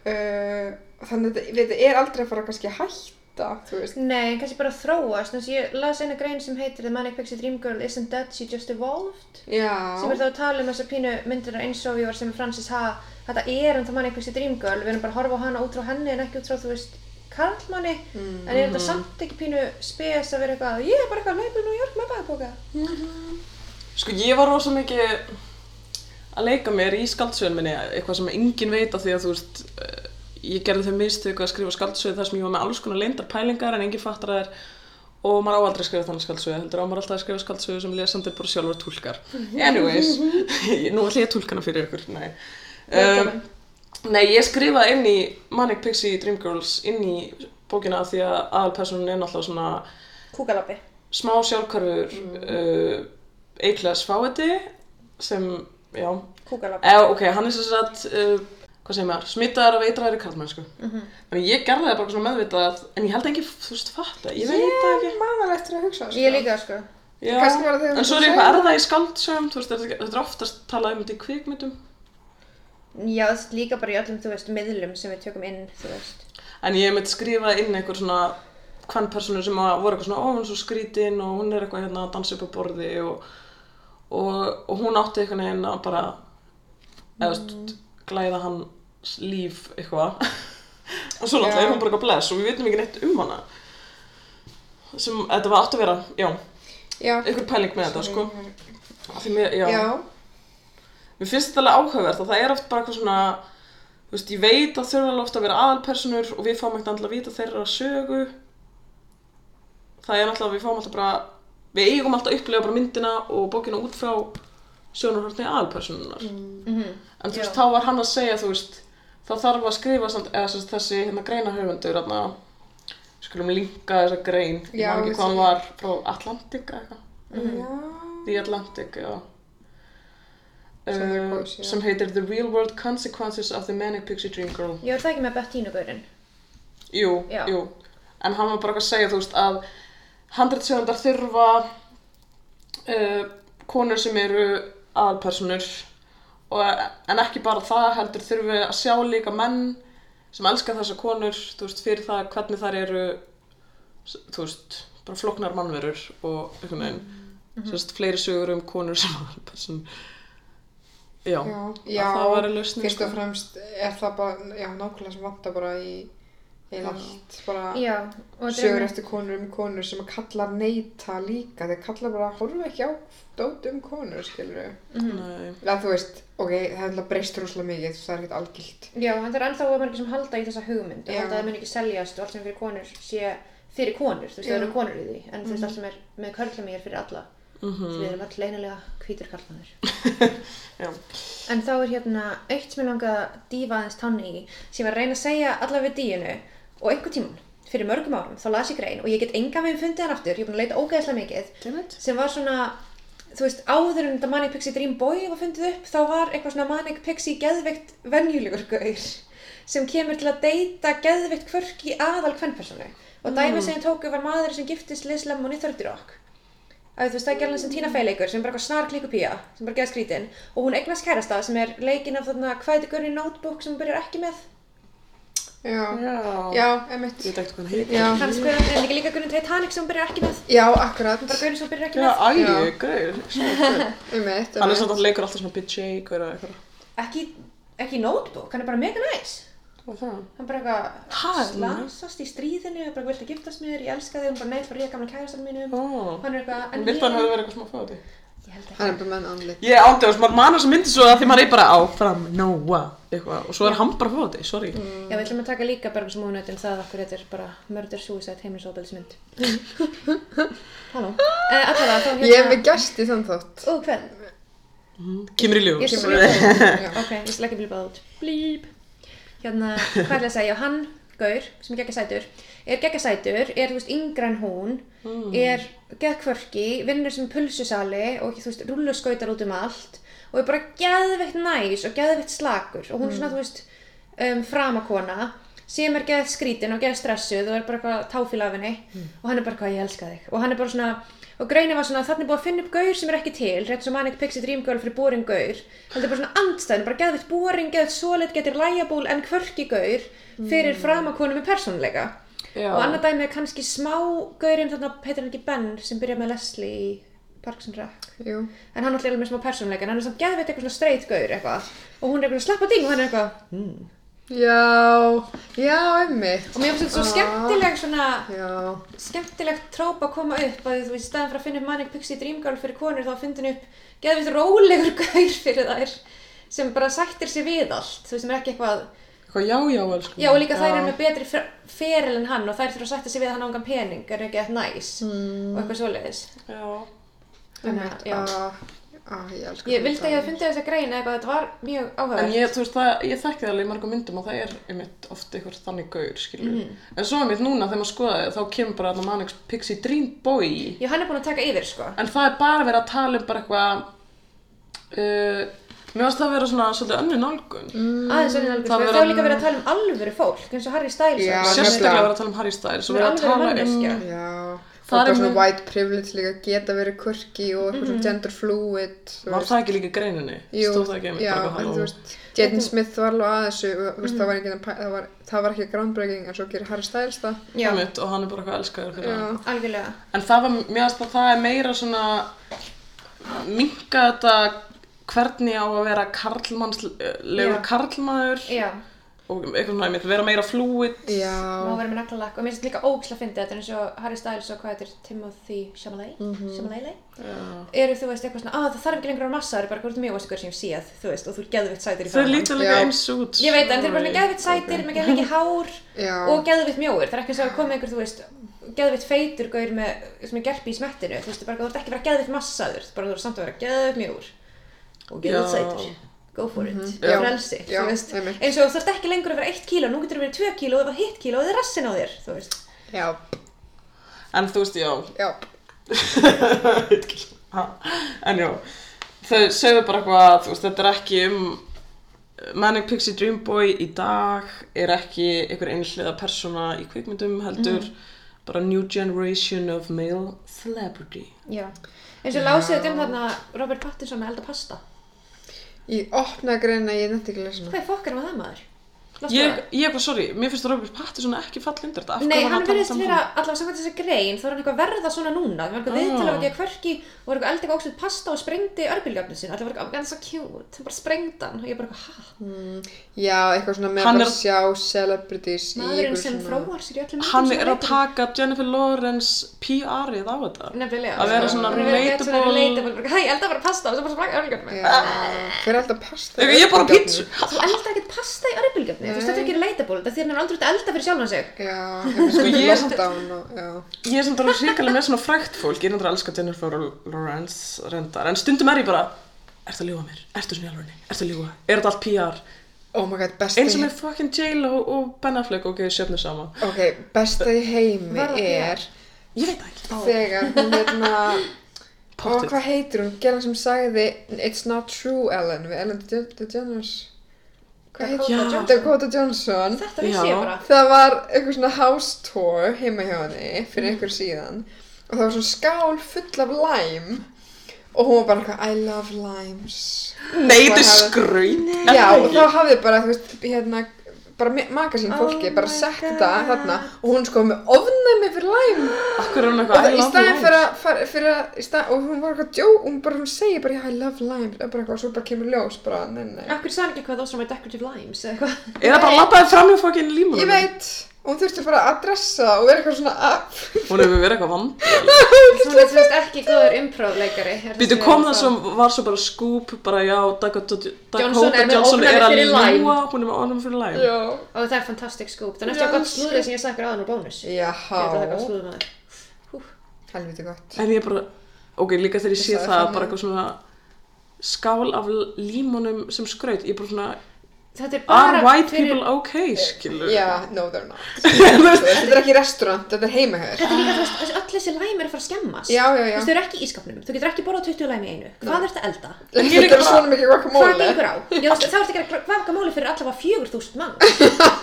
A: Uh, þannig að þetta- við- þetta er aldrei að fara kannski að hætta hætta, þú veist.
B: Nei, kannski bara þróast, þannig að ég las eina grein sem heitir The Manic Pixie Dream Girl Isn't Dead, She Just Evolved sem er
A: Já,
B: þá að tala um þessar pínu myndina eins og ég var sem Francis Ha þetta er um enda manni einhversi dreamgirl við erum bara að horfa á hana út frá henni en ekki út frá þú veist karlmanni en er þetta samt ekki pínu spes að vera eitthvað ég er bara eitthvað að leipa í New York með bæðbóka
C: Sko ég var rosa mikið að leika mér í skaldsöðun minni, eitthvað sem enginn veit af því að þú veist, eh, ég gerði þau mistöku að skrifa skaldsöðu þar sem ég var með alls konar leindar pælingar en enginn fattar að þær og maður á aldrei að skrifa þannig skaldsöðu, heldur á maður alltaf að skrifa skaldsöðu sem lesendur bara sjálfur tólkar. Anyways, nú ætlum ég að tólkana fyrir ykkur, nei. Um,
B: Velkomin.
C: nei, ég skrifaði inn í Manic Pixie Dream Girls inn í bókina af því að aðalpersonun er náttúrulega svona
B: kúkalabbi
C: smá sjálfkvarfur
A: Mhm.
C: mm. uh, A-class fáiði sem, já,
B: kúkalabbi
C: eða ok, hann er sem sagt, uh, hvað segir maður, smittaðar af eitraðari karlmennsku. Mm
A: Mhm.
C: -hmm. Þannig ég gerði það bara svona meðvitað, en ég held ekki, þú veist, fatta, ég veit það
A: ég
C: ekki.
A: er mannalegt til að hugsa það,
B: ég líka sko
C: Já,
A: Kannski var það þegar
C: en
A: þú
C: svo er
A: segir
C: eitthvað
A: það.
C: erða í skaldsögum, þú veist, þetta er- þetta er oftast talað um þetta í kvikmyndum.
B: já þú veist líka bara í öllum þú veist miðlum sem við tökum inn þú veist
C: En ég hef mitt skrifað inn einhver svona hvern personu sem að voru eitthvað svona, ó hún er svo skrítin og hún er eitthvað hérna að dansa upp á borði og, og, og hún átti einhvern veginn að bara, eða þú veist, glæða hann líf eitthvað. og svo náttúrulega
A: Já.
C: er hún bara eitthvað bless og við vitum ekki neitt um hana. Sem, þetta var átt að vera, já,
A: Já,
C: einhver pæling með þetta, sko. Af Því mér, já.
A: Já,
C: Mér finnst þetta alveg áhugavert að það er oft bara eitthvað svona þú veist, ég veit að þurfa alveg oft að vera aðalpersonur og við fáum ekkert alltaf að vita þeirra sögu það er alltaf að við fáum alltaf bara við eigum alltaf að upplega bara myndina og bókina út frá sjónarhortni aðalpersonunar
B: mhm
C: en þú veist,
B: Já.
C: þá var hann að segja þú veist, það þarf að skrifa samt, eða sem sagt þessi hérna greina höfundur þarna, við skulum linka þessa grein ég
A: Já,
C: man ekki
A: ég
C: hvað
A: sé.
C: hann var frá Atlantic eða eitthvað
B: Mhm.
A: já.
C: The Atlantic, já.
A: Sem er
C: Uh,
A: kósí, já.
C: sem heitir The Real World Consequences of the Manic Pixie Dream Girl
B: ég var það ekki með Bettínugaurinn
C: Jú,
B: Já.
C: jú En hann var bara eitthvað að segja, þú veist, að handrætsjöfundar þurfa uh, konur sem eru aðalpersonur og, en ekki bara það heldur þurfi að sjá líka menn sem elska þessa konur, þú veist, fyrir það hvernig þær eru s- þú veist, bara floknar mannverur og einhvern veginn mm -hmm. fleiri sögur um konur sem aðalpersonur Já,
A: Já,
C: að það sko. var að lausna
A: fyrst og fremst er það bara, já, nákvæmlega sem vantar bara í í allt, bara
B: já og þetta er
A: sögur
B: einmitt-
A: eftir konur um konur sem að kalla neita líka, þeir kalla bara horfa ekki á dót um konur, skilur við
B: Mm.
C: Nei,
A: eða þú veist, ok, það er alltaf breyst rosalega mikið, það er ekkert algilt
B: Já, en það er ennþá að margir sem halda í þessa hugmynd og
A: Já.
B: halda að það mun ekki seljast og allt sem er fyrir konur sé fyrir konur, þú veist,
A: Já. Mhm.
B: það eru konur í því en þú veist, allt sem er með körlum er fyrir alla mm -hmm. við erum öll leynilega hvítur karlmannur
C: já
B: en þá er hérna eitt sem ég langa að dífa aðeins tanni í sem ég var að reyna að segja allavega við díinu og einhver tíman, fyrir mörgum árum, þá las ég grein og ég get enga veginn fundið hann aftur, ég er búin að leita ógeðslega mikið
C: Dammit
B: sem var svona þú veist, áður en þetta Manic Pixie Dream Boy var fundið upp, þá var eitthvað svona Manic Pixie geðveikt venjulegur gaur sem kemur til að deyta geðveikt kvörk í aðal kvennpersonu og dæmi sem ég tóku var maður sem giftist Liz Lemon í 30 Rock að þú veist, það er gælan sem Tina Fey leikur sem er bara eitthvað snar klíku pía, sem bara geða skrítin og hún eignast kærasta sem er leikinn af þarna hvað heitir gaurinn í notebook sem hún byrjar ekki með
A: já,
C: Já,
A: já, emitt
C: Ég veit ekkert hvað hann heitir.
A: Já.
B: hans gaurinn, en líka líka gaurinn í Titanic sem hún byrjar ekki með
A: já, akkurat,
B: bara gaurinn sem hún byrjar ekki
C: Já,
B: með
C: æ,
A: Já.
C: gauður.
A: emitt
C: Hann er samt að leikur alltaf svona bitch shake eða eitthvað.
B: ekki, ekki í notebook, hann er bara mega næs
C: Hvað var það?
B: hann bara eitthvað
C: Ha,
B: slasast í stríðinu bara vilt að giftast mér, ég elska þig, hún bara neitt frá ríða gamla kærastan mínum
C: Ó.
B: hann er eitthvað,
C: Hann
B: en
C: vildi að hann hefði verið eitthvað smá fáti.
B: ég held ekki
A: hann er bara menn andlit
C: Ég ándi og maður manna sem myndi svo það því maður er bara áfram, nóa, eitthvað. Og svo er hann bara fáti, sorry.
B: já, við ætlum að taka líka bara sem óvinautin það okkur þetta er bara murder suicide heimilisofbeldismynd halló uh, allavega, þá
A: ég er með gæst í þann þátt
B: ú, hvern?
C: Kemur í
B: ég
C: ljós.
B: skal blípa
A: Já.
B: ok, ég skal ekki blípa það út blíp hérna, hvað er það að segja, hann, Gaur, sem er geggjasætur er geggjasætur, er þú veist yngra en hún
A: Hmm.
B: er geggkvörki vinnur sem í pulsusali og þú veist rúlluskautar út um allt og er bara geðveitt næs og geðveitt slakur og hún er
A: Hmm.
B: svona, þú veist, um, framakona sem er geð skrítin og geð stressuð og er bara eitthvað táfíl af henni
A: Hmm.
B: og hann er bara eitthvað, ég elska þig og hann er bara svona, og greinin var svona, þannig er búið að finna upp gaur sem er ekki til, rétt sem Manic Pixie Dream Girl fyrir boring gaur, heldur bara svona andstæðin bara geðvitt boring, geðvitt solid, getur læjaból en kvörki gaur fyrir mm. framakonum í persónuleika
C: Já.
B: og annað dæmi er kannski smá gaurinn þarna heitir hann ekki Ben sem byrjar með Leslie í Parks and Rec
A: Jú.
B: en hann alltaf er með smá persónuleika en hann er samt geðveitt eitthvað svona straight gaur eitthvað og hún er eitthvað slappa ding og hann er eitthvað hmm.
A: Já, já, einmitt.
B: og mér finnst þetta svo
A: Ah.
B: skemmtileg svona
A: Já,
B: skemmtilegt tróp að koma upp að þú veist, í staðan fyrir að finna upp Manic Pixie Dream Girl fyrir konur þá finnir upp geðvitt rólegur gaur fyrir þær sem bara sættir sér við allt þú veist, sem er ekki eitthvað
C: Eitthvað, já, já, elsku.
B: já og líka þær
A: Já.
B: eru með betri fer- feril en hann og þær þurfa að sætta sér við að hann ángan pening er ekki eitthvað næs
C: Hmm.
B: og eitthvað svoleiðis
C: Já.
B: Þannig að,
A: einmitt.
B: já.
A: Ah, ah, ég elsku
B: ég vildi að ég hefði fundið þessa grein eða eitthvað þetta var mjög
C: En
B: áhugavert
C: ég, þú veist, það, ég þekki það alveg í mörgum myndum og það er einmitt oft einhver þannig gaur, skilur.
B: Mhm.
C: En svo einmitt núna þegar maður skoða þá kemur bara þarna Manix Pixie Dream Boy.
B: já, hann er búin að taka yfir sko
C: En það er bara verið að tala um bara eitthvað, uh, mér varst það að vera svona svolítið önnu nálgun.
B: aðeins enn alveg,
C: Hmm. Það
B: sko,
C: verður-
B: þá er líka verið að tala um alvöru fólk eins og Harry Styles
A: Já,
B: var-
C: Sérstaklega
A: nefnilega.
C: verið að tala um Harry Styles og
B: Hún er
C: verið að
B: alvöru
C: tala
B: manneskja.
C: um,
A: Já,
C: Það
A: það
C: er
A: er svona
C: mjög-
A: white privilege líka geta verið quirky og eitthvað
B: Mhm.
A: svona gender fluid. þú
C: var
A: veist.
C: það ekki líka í greininni?
A: Jú,
C: Stóð það ekki einmitt
A: já,
C: bara
A: en þú
C: eitthvað halló?
A: veist, Jaden Smith var alveg að þessu, og, þú veist,
B: Mhm.
A: það, var ekki, það, var, það var ekki groundbreaking en svo gerir Harry Styles það.
B: já,
C: Einmitt, og hann er bara eitthvað elskaður fyrir það.
A: Já.
B: algjörlega
C: En það var, mér finnst að það er meira svona minka þetta hvernig á að vera karlmannslegur
B: Já.
C: karlmaður
B: já,
C: og eitthvað svona, einmitt, vera meira fluid
B: má
A: Já,
B: vera með naglalakk og mér finnst líka ógislega að fyndi þetta er eins og Harry Styles og hvað heitir Timothy Chalamet mm
A: Mhm.
B: -hmm. eru þú veist eitthvað svona, að það þarf ekki lengur að vera massa það eru bara hvort mjög veist hverju sem ég séð þú veist, og þú er geðvitt sætir í
C: Þau líta líka
A: Já.
C: eins út
B: ég veit, en þeir eru bara með
C: sorry.
B: geðvitt sætir með geðvitt hár
A: já,
B: og geðvitt mjóir það er ekki eins og að koma einhver, þú veist geðvitt feitur gaur með, sem er gerpi í smettinu þú veist, bara, þú ert ekki að vera geðvitt massaður þú bara þú ert samt að vera geðvitt mjóir og geðvitt
C: Já.
B: sætir go for it,
A: Mhm. Já.
B: frelsi þú
A: Já,
B: veist.
A: einmitt.
B: eins og þú ert ekki lengur að vera 1 kíló nú getur þú verið 2 kíló eða hitt kíló eða rassin á þér þú veist
A: já,
C: En þú veist, já
A: já,
C: Ha, En já, þau segðu bara eitthvað þú veist, þetta er ekki um Manic Pixie Dream Boy í dag er ekki einhver einhliða persóna í kvikmyndum heldur
B: Mhm.
C: bara new generation of male celebrity
B: Já. eins og lásið þetta um þarna Robert Pattinson að elda pasta
A: í opna greina, ég nefndi ekki að lesa hana.
B: hvað er fokkar með það maður? Lástu
C: Ég,
B: það?
C: ég er bara, sorry, mér finnst Robert Pattinson ekki falla undir þetta. Af hverju
B: Nei,
C: var
B: hann
C: að tala
B: verðist
C: saman
B: vera, allavega samkvæmt þessi grein, þá er hann eitthvað að verða svona núna. Það var eitthvað
C: Ah.
B: viðtal af ekki að hverki og var eitthvað eldi eitthvað óslut pasta og sprengdi örbíljöfnum sinni. Allavega var eitthvað, hann er svo cute, hann bara sprengd hann og ég bara eitthvað, hæ?
A: Já, eitthvað svona með
C: Hann
A: bara
C: er-
A: að sjá celebrities í
B: Maðurinn
A: einhverju
B: sem
A: svona-
B: fróar sér í öllum myndum
C: Hann
B: sem
C: er að
B: leikur í.
C: taka Jennifer Lawrence PR-ið á þetta.
B: Nefnilega.
C: að vera
B: sko.
C: svona
B: Hann er að geta svona
C: relatable-
B: relatable, bara, hæ, elda bara pasta og svo bara sprengdi örbíljöfnum.
A: Já, hver er alltaf pasta?
C: Ég er bara pítsu.
B: Þú elda ekkert pasta í örbíljöfnum, þú veist, þetta er ekki relatable, þetta er því hann er aldrei út að elda fyrir sjálfan sig.
A: Já,
C: Sko, ég-
A: ég er lockdown og, já.
C: Ég er sem bara hrikalega með svona frækt fólk. Ég er náttúrulega að elska Jennifer Lawrence reyndar. En stundum er ég bara, ertu að ljúga mér? Ertu svona í alvörni? Ertu að ljúga? Er þetta allt PR?
A: Oh my god, besta
C: Eins og með fucking J-Lo og Ben Affleck, ok, sjöfnu sama.
A: Ok, besta í heimi
B: Var það
A: er
C: Ég veit það ekki.
A: þegar hún hérna og
C: Pottið.
A: hvað heitir hún? Gerðan sem sagði It's not true Ellen við Ellen DeGe- DeGeneres Hvað heitir
C: Dakota
A: hún?
C: Johnson.
A: Dakota Johnson
B: Þetta vissi
C: Já.
B: ég bara.
A: Það var einhver svona house tour heima hjá henni
B: Mm.
A: fyrir einhver síðan og það var svona skál full af lime og hún var bara eitthvað I love limes
C: Nei, þetta er
A: Hvað hafði-
C: skröyn.
A: Já, og þá hafði bara, þú veist, hérna bara magasín fólki,
B: Oh
A: bara
B: my
A: sett
B: God.
A: þetta þarna og hún sko með ofnæmi fyrir lime
C: Akkur er hún
A: og
C: eitthvað,
A: það í staðin fyrir að, fara- fyrir að í stað, og hún var eitthvað djó, hún bara, hún segir bara, I love lime, bara eitthvað, og svo bara kemur ljós, bara, nei, nei.
B: Akkur sagði hann ekki hvað þó sem var decorative limes eða eitthvað.
C: Eða bara labbaði fram í fucking límunum.
A: Ég veit, og hún þurfti bara að adressa það og vera eitthvað svona, "Ah." að,
C: Hún hefur verið eitthvað vand.
B: Hún er semst ekki góður improv-leikari. er
C: Býtu,
B: sem ég
C: kom
B: er
C: það
B: að fá.
C: sem var svo bara skúp, bara já, Dakota Dakota
B: Johnson er með
C: Johnson
B: ofnæmi
C: er að
B: fyrir lime.
C: ljúa, hún er með ofnum fyrir læm.
A: já.
B: Og það er fantastic scoop. Það er
A: Já,
B: næstu gott
A: elsku.
B: slúðrið sem ég sagði ykkur áðan úr bónus. Ég veit að það er gott
A: Jáhá,
B: slúður maður.
A: helviti gott.
C: En ég bara, ok, líka þegar ég sé
A: sagði
C: það,
A: það
C: bara
A: nú.
C: eitthvað svona skál af límunum sem skraut, ég bara svona,
B: Þetta er bara
C: are white
B: fyrir...
C: people ok, skilur?
A: Já, no they're not. Þú veist, þetta er ekki restaurant, þetta er heimahör.
B: Þetta er líka, þú veist, þessi- öll þessi læm er að fara að skemmast.
A: Já, já,
B: Þú
A: já.
B: veist, þau eru ekki í skapnum. Þú getur ekki borðað 20 læm í einu. Hvað ertu að elda?
C: En ég er
A: Þetta er
C: líka-
A: svona mikið
B: Hvað
A: guacamole.
B: gengur á? Já, þú veist, þá ertu ekki að kvaka móli fyrir allavega 4.000 mann.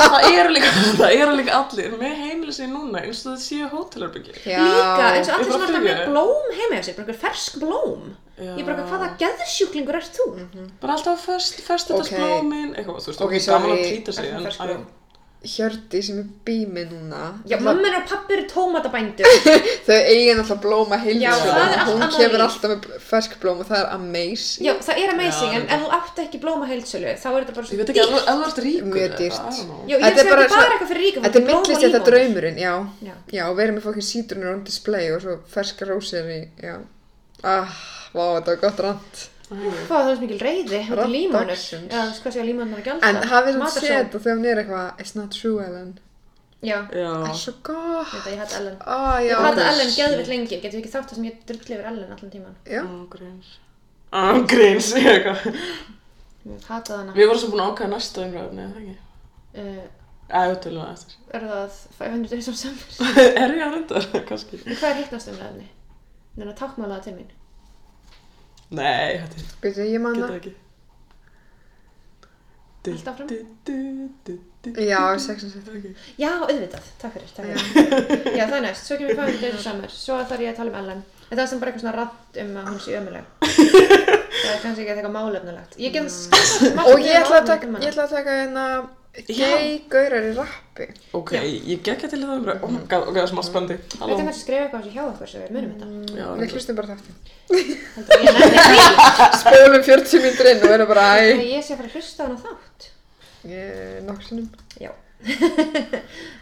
C: Það eru líka, það eru líka allir með heimili sig núna, eins og það séu hótelarbyggi.
A: Já.
B: Líka, eins og
C: Ég
B: allir
C: bara
B: svona alltaf með
C: byrjaði.
B: blóm heima hjá sér, bara einhver fersk blóm.
C: Já.
B: Ég bara, hvaða geðsjúklingur ert þú?
C: Bara alltaf föst, föst þetta
A: Ok.
C: blómin, eitthvað, þú veist,
A: Ok,
C: ok, gaman að
A: sorry.
C: trýta sig,
B: Ertu
C: en,
B: með fersk blóm?
C: æ,
A: Hjördi sem er bími núna
B: Já,
A: Náttúrulega-
B: mamma og pappi eru tómatabændur.
A: Þau eigin alltaf blóma
B: Já, það er
A: heilsjóðan
B: allt
A: Hún
B: annað
A: kemur
B: líf.
A: alltaf með fersk blóm og það er amazing
B: Já, það er amazing,
C: Já,
B: en
C: reyndar.
B: ef þú átt ekki blómaheilsölu, þá er þetta bara
C: Ég
B: svo
C: veit ekki, ef þú ert ríkur
A: Mjög
C: eða,
A: dýrt.
C: I don't know.
B: Já, ég
A: Þetta
B: hugsa
A: er bara
B: þetta er bara
A: svo-
B: eitthvað fyrir ríka fólk.
A: Þetta er
B: blóm og
A: mittlist, þetta er
B: límónur.
A: draumurinn, já
B: Já.
A: Já, og verið með fokkin sítrunur on display og svo ferska rósir í, já Ah, vá, þetta var gott rand
B: Hvað, það er svo mikil reyði, þetta er
A: Rangt
B: límónur. Já,
A: dagsins.
B: þú veist hvað sé að límónur að gjalda.
A: En hafið þú séð
B: Matarsóun.
A: þetta þegar hún er eitthvað It's not true, Ellen
B: Já,
A: Það
C: Já.
A: er svo gott
B: þetta ég hætti Ellen.
A: Ó, Ah, já
B: Ég hætti
C: ok.
B: Ellen geðvitt lengi, getur við ekki þátt það sem ég drullið yfir Ellen allan tíman.
A: Já,
C: Ángríns. Ángríns, ég eitthvað.
B: Ég hætti hana.
C: Við vorum svo búin að ákvæða næsta umræðinni, eða ekki?
B: Uh,
C: Æ, við tölum það eftir.
B: er það 500 days of summer?
C: er ég að reynda? Kanski.
B: Hvað er um hitt næstum reyðinni? Núna tákmálaða til mín.
C: Nei, þetta er-
A: veitu, ég manna
C: getur ekki. Du-
B: Haltu áfram.
C: du- du- du- du- du-
A: Já,
C: du-
A: sex and
C: du- du- du-
B: Já, auðvitað, takk fyrir, takk
A: Já.
B: fyrir. Já, það er næst, svo kemur 500 days of summer, svo þarf ég að tala um Ellen. En það er sem bara eitthvað svona rætt um að hún sé ömuleg. það er kannski ekki eitthvað málefnilegt. Ég get um skemmt
A: Og ég ætla að taka, ég ætla að taka hérna Gay gaurar í rappi
C: Ok, ég gekk ekki til þetta umræð. Oh my god, ok, það er smá spöndi.
B: Við veitum að skrifa eitthvað sem hjá okkur sem við munum þetta.
C: Já,
A: Mm, Við
C: reyndar.
A: hlustum bara þáttum
B: Heldur ég nefnir
A: Spólum 40 mínútur inn og erum bara æ
B: því að ég sé að fara að hlusta á hana þátt.
A: Ég- Nokkur sinnum
B: Já.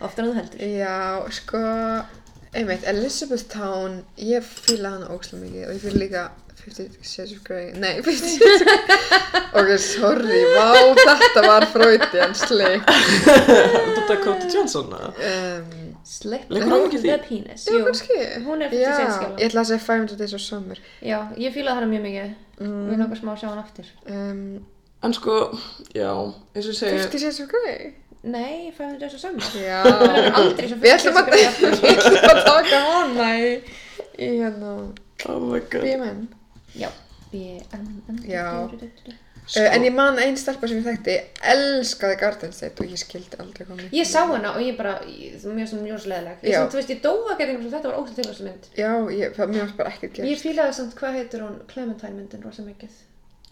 B: Oftar en þú heldur.
A: Já, sko, einmitt, Elizabeth Town, ég fýla hana ógslum mikið og ég fýla líka 50 Shades of Grey, nei, 50 Shades of ok, sorry, vá, þetta var fröyti hans leik.
C: Þetta er Cody Johnson, eða?
A: Um,
B: Slip
C: Leikur hún ekki í því?
B: the penis.
A: já, kannski.
B: Hún er 50
A: Já,
B: Shades Grey.
A: Ég ætla að segja 500 Days of Summer. Mm,
B: Já, ég fílaði hana mjög mikið. Við nokkar smá að sjá hana aftur.
A: Um,
C: En sko, já, eins og ég segi...
A: 50 Shades of Grey?
B: Nei, 500 days of summer.
A: Já.
B: Hún verður aldrei svo
A: Við ætlum að,
B: 50 Shades of Grey
A: við ætlum að taka hana í, í hérna,
C: Oh my god.
A: BMN.
B: Já. B-M-N.
A: Já.
C: Sko,
A: Uh, en ég man einn stelpa sem ég þekkti, elskaði Garden State og ég skildi aldrei komið.
B: Ég sá hana og ég bara, ég- það var mjög svona ljósleðileg. Ég
A: Já.
B: samt, þú veist, ég dóa ekki einhvern veginn, þetta var ógætt tilvægstu mynd.
A: Já, ég, það, mér varst bara ekkert gert.
B: Ég fílaði samt, hvað heitur hún, Clementine myndin rosa mikið.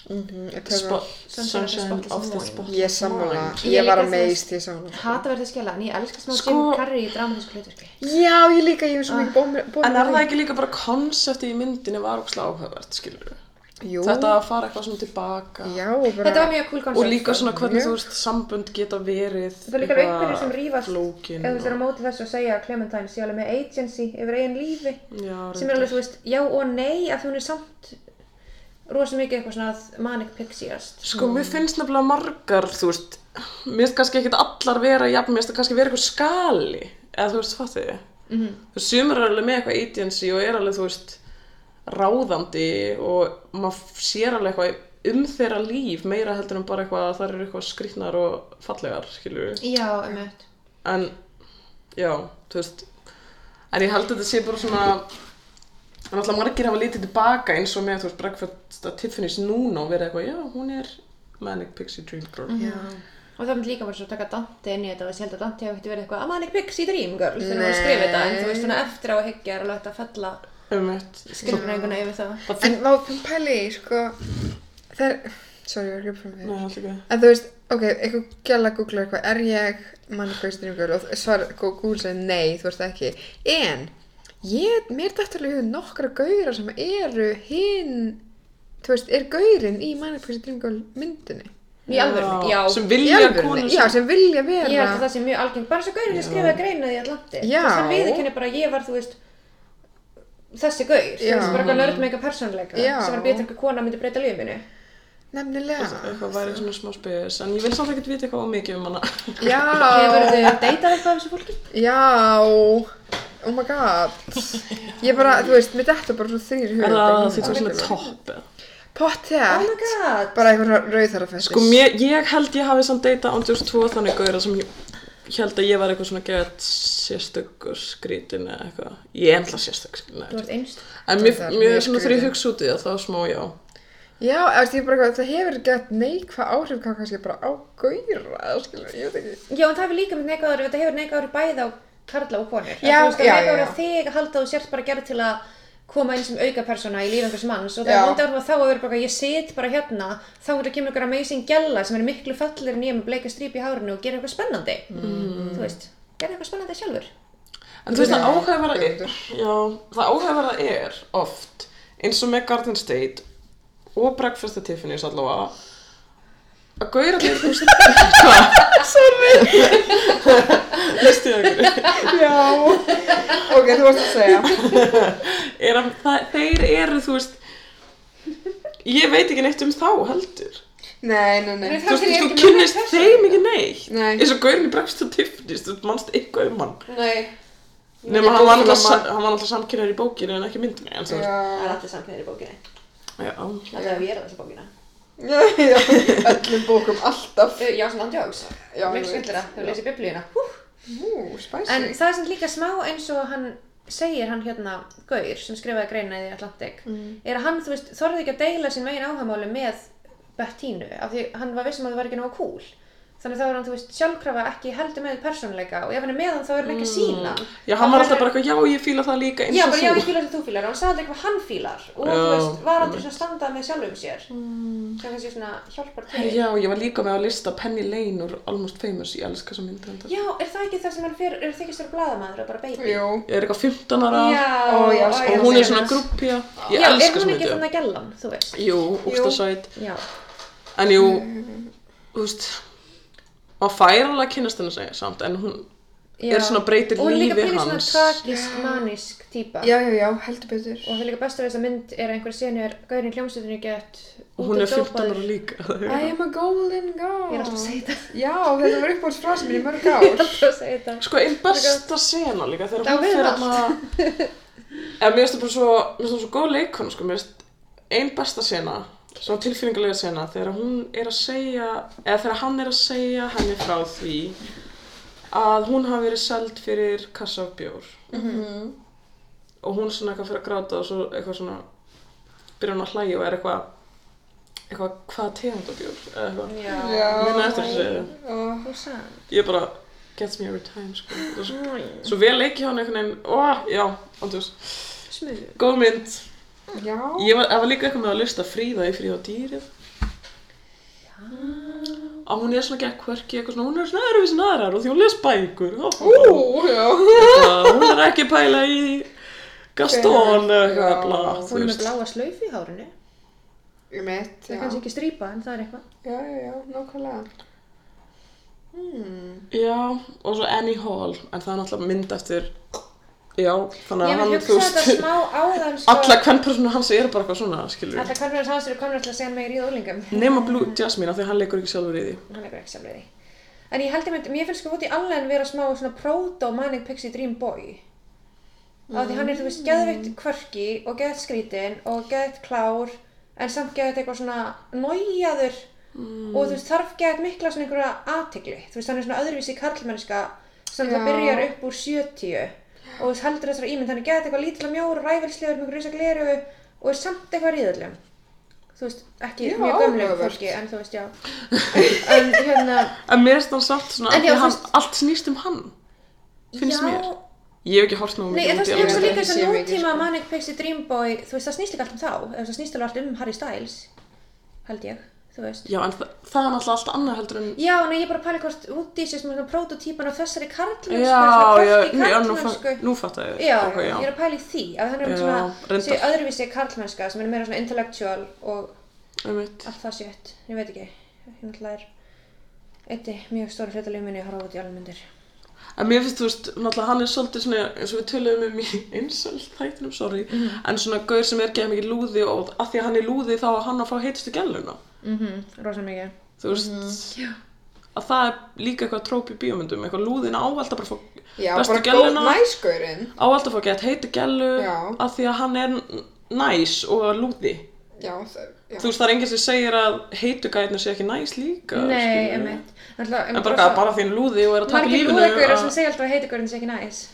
A: Mhm, ég töfra.
C: Spot-
B: Sunshine
C: Sunshine of the
B: Spotless
C: Spot.
A: Ég er sammála,
C: Mind.
B: Ég
A: ég var að
B: líka, þú
A: meist
B: veist-
A: því ég sá hana.
B: Hata verði skjala, en ég elska smá
C: Sko-
B: Jim Carrey í dramatísku hlutverki.
A: Já, ég líka, ég hef svo mikið bómið.
C: En er það ekki líka bara konseptið í myndinni var ógslag áhugavert, skilur við?
A: Jú,
C: Þetta að fara eitthvað svona tilbaka
A: já, bara.
B: Þetta var mjög cool koncept.
C: og líka svona hvernig
A: Mjög.
C: þú veist sambund geta verið
B: Það er líka alveg einhverjir sem rífast,
C: flókin
B: eða þú veist, er á móti þessu að segja að Clementine sé alveg með agency yfir eigin lífi,
C: já,
B: sem er alveg, þú veist, já og nei, af því hún er samt rosa mikið eitthvað svona að manic pixie-ast.
C: sko mér finnst nefnilega margar þú veist mér finnst kannski ekkit allar vera jafn mér finnst það kannski vera eitthvað skali eða þú veist fattið þið mm -hmm. þú veist, sumir er alveg með eitthvað agency og er alveg þú veist ráðandi og maður sér alveg eitthvað um þeirra líf meira heldur en bara eitthvað að það eru eitthvað skrýtnar og fallegar skilur við
B: Já, einmitt.
C: en já, þú veist en ég held að þetta sé bara svona en alltaf margir hafa litið tilbaka eins og með þú veist Breakfast at Tiffany's núna og verið eitthvað, já, hún er Manic Pixie Dream Girl
B: Mhm.
A: Já.
B: Og það myndi líka bara svo taka Dante inn í þetta og ég held að Dante hafi ekkert verið eitthvað að manic pixie dream girl þegar hún var að skrifa þetta en þú veist svona eftir á að hyggja er alveg hægt að fella
C: um eitt
B: skilurreikuna yfir það
A: En má pæli, í, sko, það er, sorry, ég var að hljópa fram
C: Nei,
A: fyrir.
C: alltaf ekki
A: En þú veist, ok, eitthvað gæla að googla eitthvað, er ég manni hvað strímgöl og svar, Google segir nei, þú veist það ekki. En, ég, mér dættu alveg í hug nokkra gaurar sem eru hinn, þú veist, er gaurinn í manni hvað strímgöl myndinni.
B: Í alvöru, já
C: sem
A: Í
C: vilja
A: alvörunni?
C: konur
A: Já, sem vilja vera.
B: Ég held að það sé mjög algengt, bara svo gaurinn sem skrifaði greinaði í Atlanti
A: Já.
B: Þú veist hann viðurkenni bara að ég var þú veist þessi gaur, þú
A: Já.
B: veist bara eitthvað nörd með eitthvað persónleika
A: Já.
B: sem var betur eitthvað kona myndi breyta lífið minu
A: Nefnilega.
C: eitthvað væri svona smá spes en ég vil samt ekkert vita eitthvað of mikið um hana
A: Já.
B: Hefurðu deytað eitthvað af þessu fólki?
A: Já. Oh my god. Ég bara, þú veist, mér dettur bara svona þrýr
C: er
A: hugur.
C: það því þú er svona topp eða?
B: Oh
A: Pottþétt.
B: my god
A: Bara einhverja rauðarafestis.
C: sko mér, ég held ég hafi samt deyta ándjúrs tvo þannig gauðra sem ég ég held að ég var eitthvað svona geðat sérstökur skrítin eða eitthvað ég er ennla sérstök skrítin
B: Þú ert einst
C: En mér,
A: Það er
C: mér
A: mjög
C: er svona
A: skrýtið.
C: þegar ég hugsa út í það, þá smá já.
A: Já, þú veist, ég bara eitthvað, það hefur gett neikvað áhrif hvað kannski bara á gauðra, skilur, ég veit ekki.
B: Já, en það hefur líka með neikvæður, þetta hefur neikvæður bæði á karla og konur.
A: Já,
B: Þú veist, það
A: já,
B: er neikvæður
A: já.
B: að þig að halda að þú sért bara gerð til að koma inn sem aukapersóna í lífi einhvers manns og það
A: Já.
B: er vonda áhrif að þá að vera bara eitthvað, ég sit bara hérna þá er það kemur einhver amazing gælla sem er miklu fallir en ég með bleika stríp í hárinu og gera eitthvað spennandi þú veist, gera eitthvað spennandi sjálfur
C: En þú veist það
A: Já,
C: áhugaverða er,
A: Guðmundur.
C: já, það áhugaverða er oft, eins og með Garden State og Breakfast at Tiffany's allavega, að gauðra allir, þú veist, hvað? Sorry! Lýstu ég einhverju?
A: Já, ok, þú varst að segja.
C: Er að það, þeir eru, þú veist, ég veit ekki neitt um þá heldur.
A: Nei, nei, nei.
B: Nei,
C: Þú
B: Kannski
C: veist,
B: ég
C: þú
B: ekki með
C: kynnist
B: neitt um
C: þeim ekki neitt.
A: Nei.
C: Eins og gauðin í Breakfast at Tiffany's, þú mannst eitthvað um hann.
B: Nei, um
C: Nefnum hann var alltaf,
A: Góðan mann.
C: hann var alltaf samkynnar í bókinu en ekki í myndinni, en þú veist,
B: það
A: Já.
B: er alltaf samkynir í bókinni
C: já.
B: alltaf ef ég er að lesa bókina
A: Já, já, öllum bókum alltaf.
B: Uh, Já, svona andjóks,
A: Já, ég veit.
B: miklu skemmtilega þegar við lesið biblíuna Hú.
A: Ú, spicy.
B: En það er sem líka smá eins og hann segir hann hérna Gaur sem skrifaði greina í Atlantic er að hann, þú veist, þorði ekki að deila sín megin áhamáli með Bettínu af því hann var vissum að það var ekki nógu cool þannig þá er hann, þú veist, sjálfkrafa ekki heldur með persónuleika og ef hann er með hann þá er hann ekki að sína
C: Já, hann var alltaf bara eitthvað, já, ég fíla það líka eins
B: Já,
C: og
B: bara já, ég
C: þú.
B: fílar sem þú fílar og hann sagði aldrei hvað hann fílar og
C: Já,
B: þú veist, var aldrei svona standað með sjálfum sér mm. sem kannski svona hjálpar til
C: Já, ég var líka með að lista Penny Lane úr Almost Famous, ég elska þessa mynd þetta.
B: Já, er það ekki það sem hann fer, er þykist vera blaðamæður og bara baby?
A: Jú.
C: Ég er eitthvað 15 ára
B: Já,
A: Ó, ég
B: já,
A: elska
B: já,
C: og sko, hún
B: já.
C: er svona grúppja. Ég
B: Já, er
C: elska
B: hún
C: þessa
B: ekki
C: mynd,
B: þannig að gellan, þú veist?
C: já. Jú,
A: Jú.
C: úkstasæt.
B: Já,
C: En jú, þú veist, maður fær alveg að kynast henni seg- samt, en hún
B: já.
C: er svona breytir
B: Og hún er líka
C: lífi
B: pínu svona
C: hans.
B: tragisk, manisk típa.
A: Já, já, já, heldur betur.
B: Og það er líka best að þess að mynd er að einhver senu er Gaurin hljómsveitinu gett
C: Og hún er 15 ára líka.
A: I am a golden
B: Ég er
A: girl.
B: alltaf að segja þetta.
A: Já, þetta var uppáhaldsfrasa mín í mörg
B: Ég er
A: ár.
B: alltaf að segja þetta.
C: Sko, einn besta sena líka
B: Það á
C: þegar hún
B: við um
C: fyrir
B: allt.
C: að... En mér finnst það bara svo, mér finnst það svo góð leikon, sko, mér finnst einn besta sena, svona tilfinningalega sena, þegar hún er að segja, eða þegar hann er að segja henni frá því að hún hafi verið seld fyrir kassa af bjór. Og hún svona eitthvað fyrir að gráta og svo eitthvað svona, byrjar hún að hlæja og er eitthvað, eitthvað, hvað tegund af bjór, eða eitthvað.
B: Já.
C: Minna eftir þessu,
A: Ó,
B: Þú sann.
C: ég bara, gets me every time, sko, það er svo Svo vel leikið hann einhvern veginn, ó, já, andjós,
B: Smug.
C: góð mynd.
A: Já.
C: Ég var, það var líka eitthvað með að lusta fríða í fríða og dýrið. Að hún er svona gekk hverki eitthvað svona, hún er svona öðruvísin aðrar og því hún les bækur. Ó,
A: Ú, já.
C: það, hún er ekki að pæla í Gaston eða
A: Já.
C: eitthvað, bla, þú
B: Hún er með
C: veist.
B: bláa slaufu í hárinu.
A: Ég mitt,
B: Það
A: já.
B: er kannski ekki strípa, en það er eitthvað.
A: Já, já, já, nákvæmlega. Hmm.
C: Já, og svo Annie Hall, en það er náttúrulega mynd eftir, já, þannig
B: Ég
C: að
B: vil
C: hann, þú
B: hugsa þetta
C: veist,
B: smá áðan, sko.
C: alla kvennpersonu hans eru bara eitthvað svona, skilur
B: Alla kannverðans hans eru komnar til að segja hann megir í úlingum.
C: Nema Blue Jasmine, af því að hann leikur ekki sjálfur í því.
B: hann er ekki samlega því en ég held ég mynd, mér finnst sko Woody Allen vera smá svona proto Manic Pixie Dream Boy af því hann er þú veist geðveitt kvörki og geðveitt skrítin og geðveitt klár en samt geðveitt eitthvað svona nójaður og þú veist þarf geðveitt mikla svona einhverja athygli þú veist hann er svona öðruvísi karlmennska sem það
A: Já.
B: byrjar upp úr 70 og þú veist heldur þessar ímynd hann er geðveitt eitthvað lítilega mjór, ræfilslegur, með grusa gleru og er samt eitthvað ríðallum þú veist, ekki
A: Já,
B: mjög gömlegu
A: áhugavert.
B: fólki en þú veist, já en hérna
C: En mér finnst hann samt svona
B: En
C: að
B: já,
C: því
B: þú
C: hann,
B: veist-
C: allt snýst um hann. Finnst
B: já,
C: mér. Ég hef ekki hort náðu
B: Nei, en það
A: Woody
B: snýst
A: Allen.
B: líka þess
A: Sé
B: að
A: mikið,
B: nútíma
A: sko.
B: Manic Pixie Dream Boy þú veist, það snýst líka allt um þá eða þú veist, það snýst alveg allt um Harry Styles held ég, þú veist
C: Já, en það, það er náttúrulega allt annað heldur en...
B: Já, nei, ég er bara að pæla hvort Woody sé svona prototýpan af þessari karlmennsku
C: Já, já, nú- já, nú,
B: karlmennsku
C: fa- nú fattar ég.
B: sko. Já,
C: ok,
B: ég er að pæla í því að hann er um
C: Já,
B: svona,
C: reyndar.
B: sé öðruvísi karlmennska sem er meira svona intellectual og
C: Einmitt.
B: allt það sétt, ég veit ekki ég náttúrulega er eitti mjög stóri hlutalegu minni að horfa út í alveg myndir
C: En mér finnst, þú veist, náttúrulega hann er svolítið svona, eins og við töluðum um í einsöld þættinum, sorry,
B: Mhm.
C: en svona gaur sem er geða mikið lúði og að því að hann er lúði þá á hann að fá heitistu gæluna.
B: mm rosa mikið
C: Þú veist,
B: Mhm,
C: að það er líka eitthvað tróp í bíómyndum, eitthvað lúðin á alltaf bara að fá
A: Já,
C: Bestu
A: bara góð
C: gæluna.
A: næskurinn.
C: á alltaf að geta heiti gælu
A: Já.
C: af því að hann er n- næs og lúði.
A: Já, það, já.
C: Þú veist, það er enginn sem segir að heitu gætna sé ekki næs líka.
B: Nei,
C: skilurðu.
B: emitt En
C: En bara, bara, bara því hann er lúði og er að taka
B: Margir
C: lífinu.
B: lúðagaurar sem segja alltaf að heitigaurin sé ekki næs.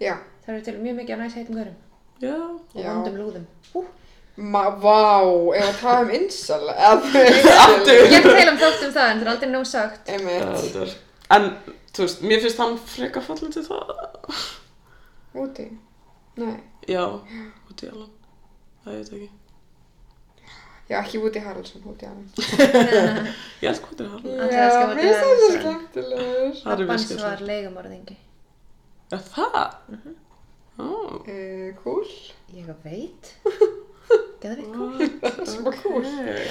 A: Já.
B: Það eru til mjög mikið af næs heitum gaurum
C: Já.
B: og
A: Já.
B: vondum lúðum. Hú.
A: Ma, vá, ef að tala um insel, eða...
C: Aftur.
B: Ég hef teila um þátt um það en það er aldrei nóg sagt.
C: Já,
A: Einmitt,
C: þetta er- En, þú veist, mér finnst hann frekar fallin til það.
A: úti. Nei.
C: Já, Woody Allen það ég veit ekki
A: Já, ekki Woody Harrelson, Woody Allen.
C: ég elsk Woody Allen
D: Ætlaði að skrifa Woody
A: mér finnst það
D: Harrelson.
A: skemmtilegur.
C: það er
B: Pappans
C: viskjöfslega
B: var leigumorðingi.
C: Er það?
B: Mhm.
C: Ó,
A: Uh, cool.
B: Ég veit. Geðvig.
A: Það er svo cool.
C: ok.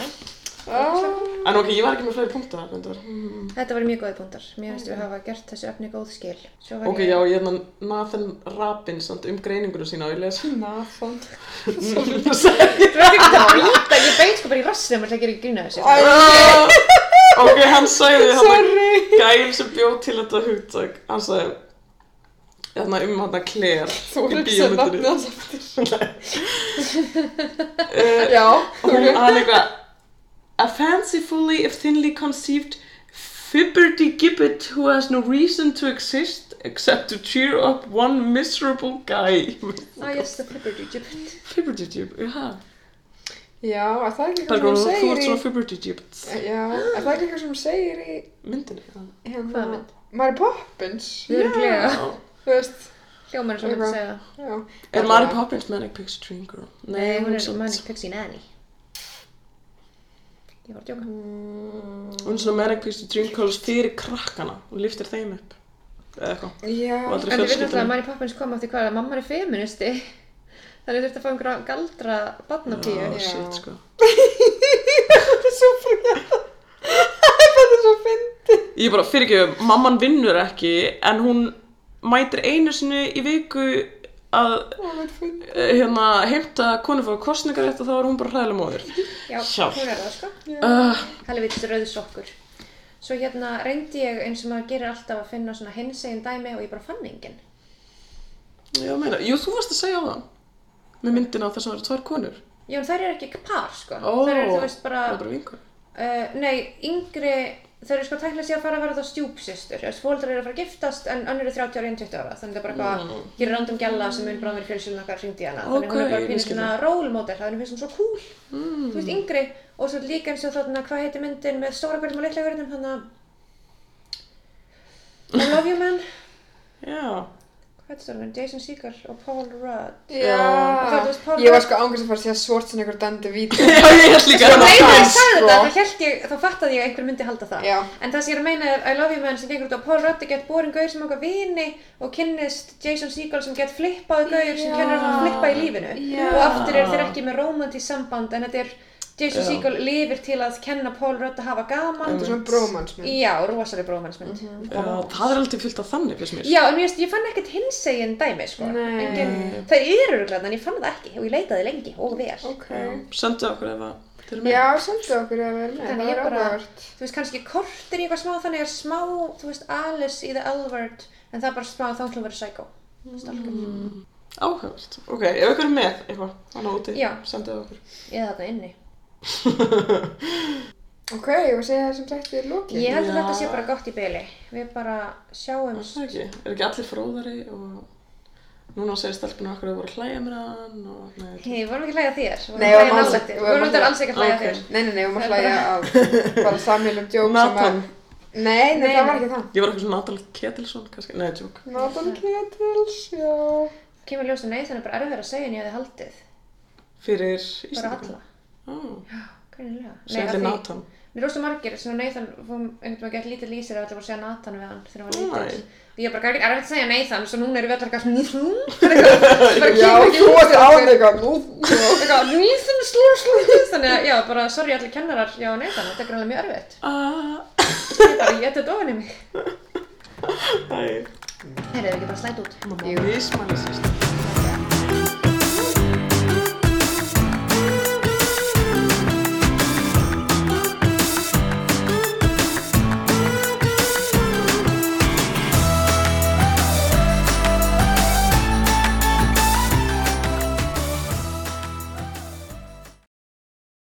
A: Ah.
C: En ok, ég var ekki með fleiri punktar reyndar.
B: Þetta var mjög góði punktar. Mér finnst við hafa gert þessu efni góð skil. Svo var
C: Ok, já, ég hefna Nathan Rabin samt um greininguna sína og ég les
A: Ah. Nathan.
C: Sorry, sorry.
B: Þú ert ekki að býta, ég beit sko bara í rassið maður ætla að gera grína þessu.
C: Ah, Ok, hann sagði hann
A: Sorry.
C: gæl sem bjóð til þetta hugtak Hann sagði þarna um hann að Claire
A: Þú
C: í
A: hugsaði
C: bíómyndinni.
A: nafnið hans aftur.
C: Eh,
A: Já,
C: og hún hann eitthvað A fancifully if thinly conceived fibberty gibbet who has no reason to exist except to cheer up one miserable guy
B: Ah, yes, the flipper digit.
C: Fibberty gibbet, já
A: Já, er það ekki
C: Það er
A: eitthvað
C: góð,
A: sem
C: þú
A: hún
C: ert svona
A: segir í... Eh,
C: fibberty gibbet
A: Já, er það ekki eitthvað sem hún segir í...
C: myndinni það.
A: Hérna...
B: Hvaða mynd?
A: Mary Poppins.
B: Örugglega.
C: Já.
A: Þú veist,
B: Hljómar er svona að segja.
A: já.
C: Er Mary Poppins Manic Pixie Dream Girl?
B: Nei, hún er
C: svona-
B: Manic Pixie Nanny. Ég var að djóka.
C: Hún er svona Manic Pixie Dream Girls fyrir krakkana og liftir þeim upp eða eitthvað
A: Já,
C: og aldrei
B: En þið veitum alltaf að
C: fjölskyldan
B: Mary Poppins kom af því hvað er að mamma er feministi. Þannig þurfti að fá einhverja galdra barnapíu.
C: Já,
A: Já.
C: shit, sko
A: þetta er svo fyrir Þetta er svo fyndið.
C: Ég bara, fyrir ekki, mamman vinnur ekki en hún mætir einu sinni í viku að
A: Það er fyndið.
C: eh, hérna, heimta konu fyrir kostningar eftir þá er hún bara hræðileg móður
B: Já,
C: Sjálf.
B: hún er það sko.
C: uh,
B: Helvitis rauð sokkur. Svo hérna reyndi ég eins og maður gerir alltaf að finna svona hinsegin dæmi og ég bara fann engin.
C: Já, meina, jú, þú varst að segja á það með myndina þess að það eru tvær konur
B: Já, en þær eru ekki par sko.
C: Ó,
B: Þær eru, þú veist, bara,
C: það er bara vinkur
B: uh, nei, yngri, þær eru sko tæknilega sér að fara að vera þá stjúpsistur. Þú veist, fólkdrar eru að fara að giftast en önnur er 30 ára, 21 ára. Þannig það er bara eitthvað,
C: Mm.
B: hér er random gælla sem mun bráðum verið fjölskyldun okkar hringdi í hana. Þannig
C: Ókei,
B: hún er bara
C: ég
B: pínu
C: skil
B: svona rólmódel, þannig finnst hún svo cool.
C: mm.
B: Þú veist, yngri og svo líka eins og þarna, hvað heitir myndin með stóra gaurnum og litla gaurnum, þannig að I love you man.
C: Já,
B: Hvað er þetta? Jason Segel og Paul Rudd.
A: Já.
B: Og það, þú veist, Paul
A: Ég var
B: Rudd-
A: sko ángast að fara að segja Schwarzenegger dandi vídeo.
C: Já, ég held líka
B: Sko,
C: að
B: leiðið ég
C: það
B: sagði
A: sko.
B: þetta, þá held ég, þá fattaði ég að einhver myndi halda það.
A: Já.
B: En það sem ég er að meina er I Love You Man sem gengur út á Paul Rudd er gett borin gaur sem okkar vini og kynnist Jason Segel sem gett flippaði gaur sem
A: Já.
B: kennur hann að flippa í lífinu.
A: Já.
B: Og aftur eru þeir ekki með romantís samband en þetta er Jason
C: Já.
B: Segel lifir til að kenna Paul Rudd að hafa gaman.
A: Þetta er Mhm. svona brómansmynd.
B: Já, rosalega brómansmynd.
C: Já, það er aldrei fyllt af þannig fyrst mér.
B: Já, en ég, veist, ég fann ekkert hinsegin dæmi, sko.
A: Nei.
B: Engin, það eru glæðan, en ég fann það ekki og ég leitaði lengi og vel.
A: Ok.
C: Sendu okkur ef að til mig.
A: Já, sendu okkur að vera með.
B: Þannig
A: Það
B: ég
A: er
B: bara-
A: áhugavert.
B: Þú veist, kannski kortir í eitthvað smá, þannig er smá, þú veist, Alice í The L-Word, en það er bara smá, þá ætlum verið psycho. Stalker.
C: Áhugavert. Ok, ef ykkur er með eitthvað, hann á úti,
B: Já.
C: sendu okkur.
B: Eða þarna inni.
A: Ok, og segja það sem sagt við lokið.
B: Ég held að
C: Já.
B: þetta sé bara gott í byli. Við bara sjáumst.
C: Það er ekki, er ekki allir fróðari og núna segir stelpunum okkur að voru að hlæja mér að hann og... Nei,
B: Hei, við vorum ekki að hlæja að þér. Við
A: Nei,
B: vorum að
A: við vorum alls-
B: hlæja nálægt þér.
A: við
B: Við
A: vorum
B: vorum reyndar
A: ekki-
B: alls ekki að hlæja að
C: Ok.
B: þér.
A: Nei, nei, nei, við erum að
B: Það er
A: hlæja af bara samhjölum djók sem að...
C: Nathan.
A: Nei, nei,
B: Nei,
A: það var
B: nei.
A: ekki það.
C: Ég var eitthvað svona Natalie Ketilsson kannski. Nei, tjók.
A: Nathan Kettles, já.
B: Kemur ljóst að nei, þannig bara erfið að segja en ég hefði haldið.
C: Fyrir
B: Bara
C: Íslandingar.
B: alla.
C: Ó,
B: Greinilega. Nei,
C: segir
B: af
C: þið
B: því-
C: Nathan.
B: Mér er rosa margir, svona Nathan, fórum einhvern veginn að geta lítið lýsir að allir voru að segja Nathan við hann þegar hann var
C: Nei.
B: lítill. Því ég bara gæti erfitt að segja Nathan, svo núna eru við allar eitthvað Nathan, bara kemur ekki
A: þú
B: út
A: varst
B: úr
A: á
B: okkur.
A: þig eitthvað. nú.
B: Eitthvað Nathan, slú, slú, þannig að já, bara sorry allir kennarar, já Nathan, þetta er greinlega mjög erfitt.
C: Ah,
B: Ég bara, ég þetta ofan í mig.
C: æ,
B: Þeir eru ekki bara slætt út.
C: mamma, vísmæli sýstum.